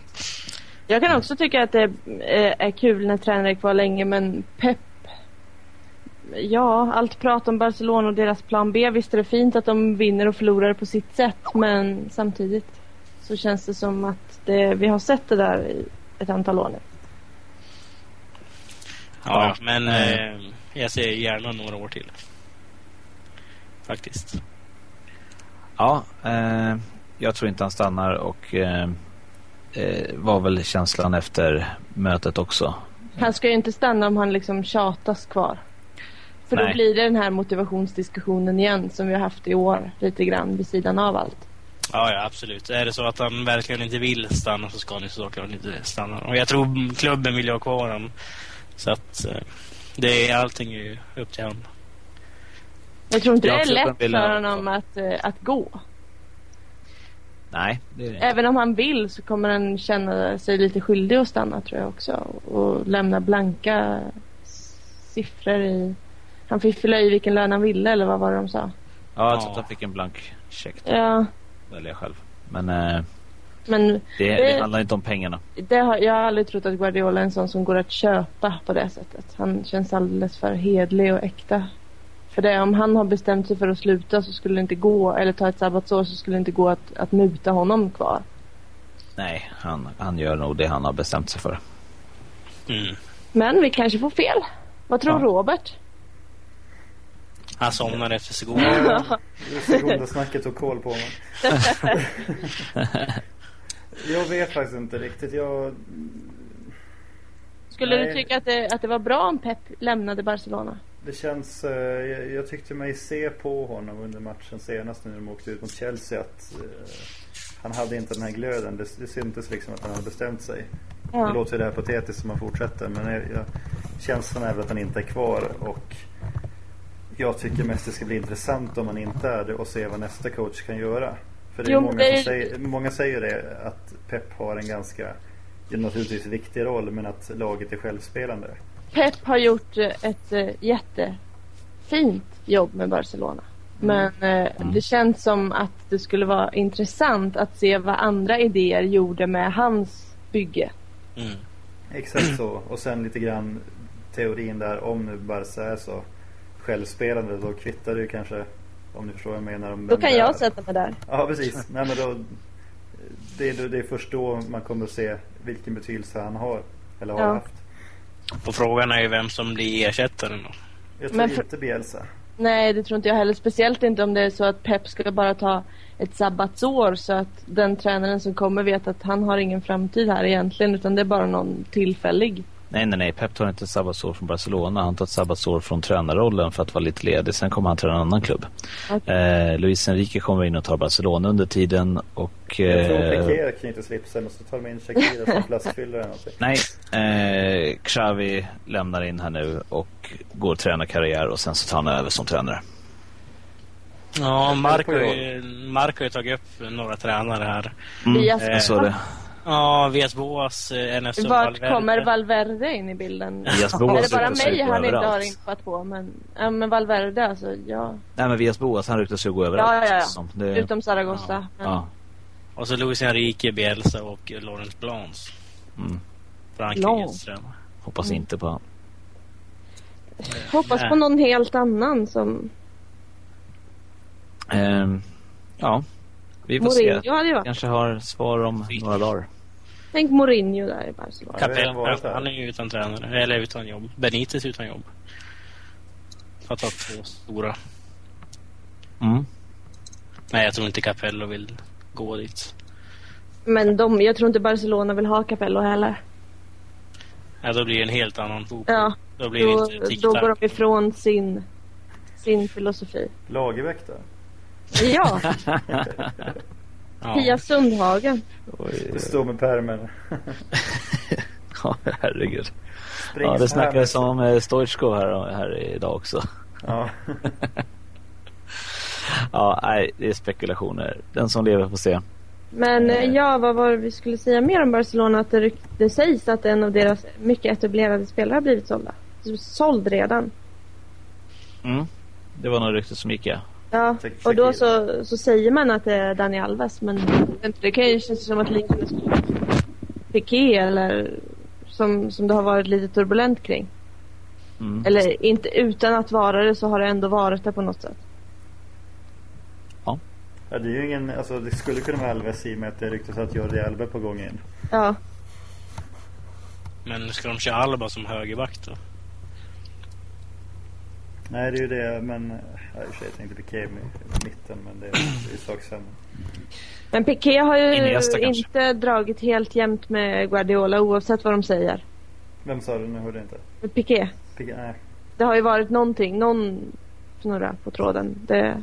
S2: Jag kan också tycka att det eh, är kul när tränare är kvar länge men Pep Ja, allt prat om Barcelona och deras plan B. Visst är det fint att de vinner och förlorar på sitt sätt men samtidigt så känns det som att det, vi har sett det där i ett antal år nu.
S1: Ja.
S4: Ja, men
S1: Mm.
S4: eh, jag ser gärna några år till. Faktiskt.
S1: Ja, eh, jag tror inte han stannar och eh, eh, var väl känslan efter mötet också.
S2: Han ska ju inte stanna om han liksom tjatas kvar. För
S1: Nej.
S2: då blir det den här motivationsdiskussionen igen som vi har haft i år lite grann vid sidan av allt.
S4: Ja, ja, absolut. Är det så att han verkligen inte vill stanna så ska han ju såklart inte stanna. Och jag tror klubben vill ju ha kvar honom. Så att eh, det är allting är ju upp till honom.
S2: Jag tror inte
S1: Jag
S2: det
S1: tror
S2: är
S1: att
S2: lätt
S1: de vill ha
S2: för
S1: honom
S2: honom att, eh, att gå.
S1: Nej, det är det inte.
S2: Även om han vill så kommer han känna sig lite skyldig att stanna tror jag också. Och lämna blanka s- siffror i... Han fick fylla i vilken lön han ville eller vad var det de sa?
S1: Ja, jag
S4: Ja.
S1: tror att han fick en blank check.
S2: Ja,
S1: Välja själv. Men eh,
S2: men
S1: det, det
S2: Det-
S1: handlar inte om pengarna.
S2: det har, jag har aldrig trott att Guardiola är en sån som går att köpa på det sättet. Han känns alldeles för hedlig och äkta. För det, om han har bestämt sig för att sluta så skulle det inte gå, eller ta ett sabbatsår så skulle det inte gå att, att muta honom kvar.
S1: Nej, han, han gör nog det han har bestämt sig för.
S4: Mm.
S2: Men vi kanske får fel. Vad tror
S1: Ja.
S2: Robert?
S4: Han somnar efter Segovia.
S3: Segunda-snacket tog koll på mig. jag vet faktiskt inte riktigt. Jag,
S2: Skulle du
S3: Nej.
S2: tycka att det, att det var bra om Pep lämnade Barcelona?
S3: det känns, eh, jag, jag tyckte mig se på honom under matchen senast nu när de åkte ut mot Chelsea att eh, han hade inte den här glöden. Det, det syntes liksom att han hade bestämt sig. Det
S2: Ja.
S3: låter ju det här patetiskt som han fortsätter men jag, jag, känslan är väl att han inte är kvar och jag tycker mest det ska bli intressant om han inte är det och se vad nästa coach kan göra. För det är
S2: Jo,
S3: många,
S2: men det är-
S3: Som säger, många säger det att Pep har en ganska, naturligtvis viktig roll men att laget är självspelande.
S2: Pep har gjort eh, ett eh, jättefint jobb med Barcelona. Men eh,
S1: Mm.
S2: det känns som att det skulle vara intressant att se vad andra idéer gjorde med hans bygge.
S4: Mm.
S3: Exakt så. Och sen lite grann teorin där om nu Barca är så självspelande då kvittar det ju kanske om ni förstår vad jag menar. Om
S2: Då
S3: vem
S2: kan
S3: det är.
S2: jag sätta mig där.
S3: Ja precis. Nej, men då, det, är, det är först då man kommer att se vilken betydelse han har. Eller har
S2: Ja.
S3: haft.
S4: Och frågan är ju vem som blir ersättaren då.
S3: Jag tror
S2: Men för-
S3: inte Bielsa.
S2: Nej, det tror inte jag heller. Speciellt inte om det är så att Pep ska bara ta ett sabbatsår så att den tränaren som kommer vet att han har ingen framtid här egentligen utan det är bara någon tillfällig.
S1: Nej, nej, nej. Pep tar inte ett sabbatsår från Barcelona. Han tar ett sabbatsår från tränarrollen för att vara lite ledig. Sen kommer han till en annan klubb.
S2: Okej.
S1: Eh, Luis Enrique kommer in och tar Barcelona under tiden och...
S3: Jag tror
S1: eh,
S3: Piqué knyter slipsen och så tar de in Shakira som flaskfyllare eller någonting.
S1: Nej, eh, Xavi lämnar in här nu och går tränarkarriär och sen så tar han över som tränare.
S4: Ja, Mark har,
S3: jag.
S4: ju, Mark har ju tagit upp några tränare här.
S2: Diaz-
S1: jag såg Eh, det.
S4: Ja, Vias Boas, eh, NS
S2: Vart kommer Valverde in i bilden?
S1: Diaz
S2: Är
S1: Boas
S2: det bara
S1: ryktas ju
S2: mig
S1: gå
S2: han inte har
S1: överallt.
S2: infat på? Men, ja, men Valverde alltså, ja.
S1: Nej, men Vias Boas han ryktas ju gå överallt.
S2: Ja, ja, ja.
S1: känns det som. Det,
S2: Utom Zaragoza. Men,
S1: ja.
S4: Och så Luis Enrique, Bielsa och Laurent Blans.
S1: Mm.
S4: Frankrikes
S2: Blanc.
S4: tränare.
S1: Hoppas
S2: Mm.
S1: inte på han.
S2: Hoppas
S4: Nej.
S2: på någon helt annan som
S1: Ehm, ja, vi får se.
S2: Mourinho hade ju varit.
S1: Kanske har svar om några dagar.
S2: Tänk Mourinho där i Barcelona.
S3: Ja, det har redan varit
S4: Capella,
S3: här.
S4: han är ju utan tränare. Eller utan jobb. Benitez är utan jobb. Har tagit två stora.
S1: Mm.
S4: Nej, jag tror inte Capello vill gå dit.
S2: Men de, jag tror inte Barcelona vill ha Capello heller.
S4: Ja, då blir det en helt annan fotboll.
S2: Ja,
S4: Då blir det
S2: då,
S4: inte tic
S2: då går de ifrån sin, sin filosofi.
S3: Lagerbäck då?
S2: Ja, Pia
S4: ja.
S2: Sundhagen.
S1: Oj,
S3: Du står med pärmen.
S1: ja, herregud. Ja,
S3: Spring så här
S1: det snackades
S3: med-
S1: om eh, Stoichkov här, här idag också.
S3: Ja.
S1: Ja, nej, det är spekulationer. Den som lever får se.
S2: Men eh, ja, vad var det vi skulle säga mer om Barcelona? Att det, ryk- det sägs att en av deras mycket etablerade spelare har blivit sålda. Såld redan.
S1: Mm. Det var något rykte som gick ja.
S2: Ja,
S3: Shak-
S2: och då
S3: Shakira.
S2: så, så säger man att det är Dani Alves men det kan ju kännas som att liknande skulle vara Piqué eller som, som det har varit lite turbulent kring.
S1: Mm.
S2: Eller inte utan att vara det så har det ändå varit det på något sätt.
S3: Ja, det är ju ingen, alltså det skulle kunna vara Alves i och med att det ryktas att Jordi Alba är på gång igen.
S2: Ja,
S4: Men ska de köra Alba som högerback då?
S3: Nej det är ju det men... eh, Ja, i och för sig jag tänkte Piqué i i mitten men det är det är sak samma.
S2: Men Piqué har ju
S1: Iniesta kanske.
S2: inte dragit helt jämnt med Guardiola oavsett vad de säger.
S3: Vem sa du? Nu hörde jag inte.
S2: Men Piqué,
S3: Piqué, nej.
S2: det har ju varit någonting, någon snurra på tråden. Det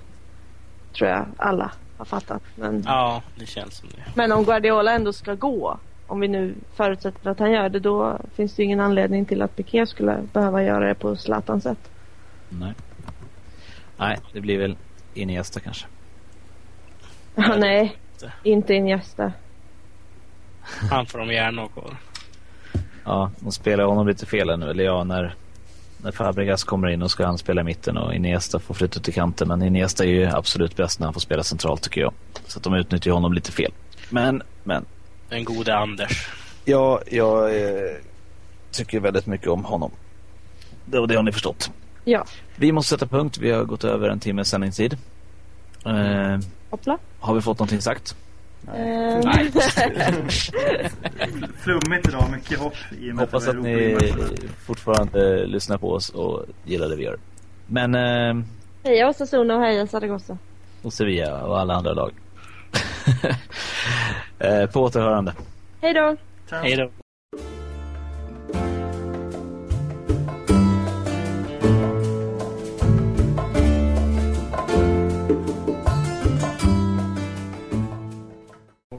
S2: tror jag alla har fattat. Men,
S4: Ja, det känns som det.
S2: men om Guardiola ändå ska gå, om vi nu förutsätter att han gör det, då finns det ju ingen anledning till att Piqué skulle behöva göra det på Zlatans sätt.
S1: Nej. Nej, det blir väl Iniesta kanske.
S2: Ja, nej, inte Iniesta.
S4: Han får de gärna ha kvar.
S1: Ja, de spelar honom lite fel här nu. Eller ja, när, när Fabregas kommer in och ska han spela i mitten och Iniesta får flytta till kanten. Men Iniesta är ju absolut bäst när han får spela centralt tycker jag. Så att de utnyttjar honom lite fel. Men, men.
S4: Den gode Anders.
S1: Ja, jag eh, tycker väldigt mycket om honom. Det, det har ni förstått.
S2: Ja,
S1: Vi måste sätta punkt. Vi har gått över en timmes sändningstid. Eh,
S2: hoppla.
S1: har vi fått någonting sagt?
S2: Ehm,
S5: Flummigt idag, mycket hopp i och med
S1: Hoppas
S5: det
S1: att
S5: var
S1: ni
S5: Europa i matcherna.
S1: fortfarande eh, lyssnar på oss och gillar det vi gör. Men, eh,
S2: heja Osasuna och heja Zaragoza.
S1: och Sevilla och alla andra lag. Eh, på återhörande.
S2: Hej då!
S5: Ciao.
S4: Hej då.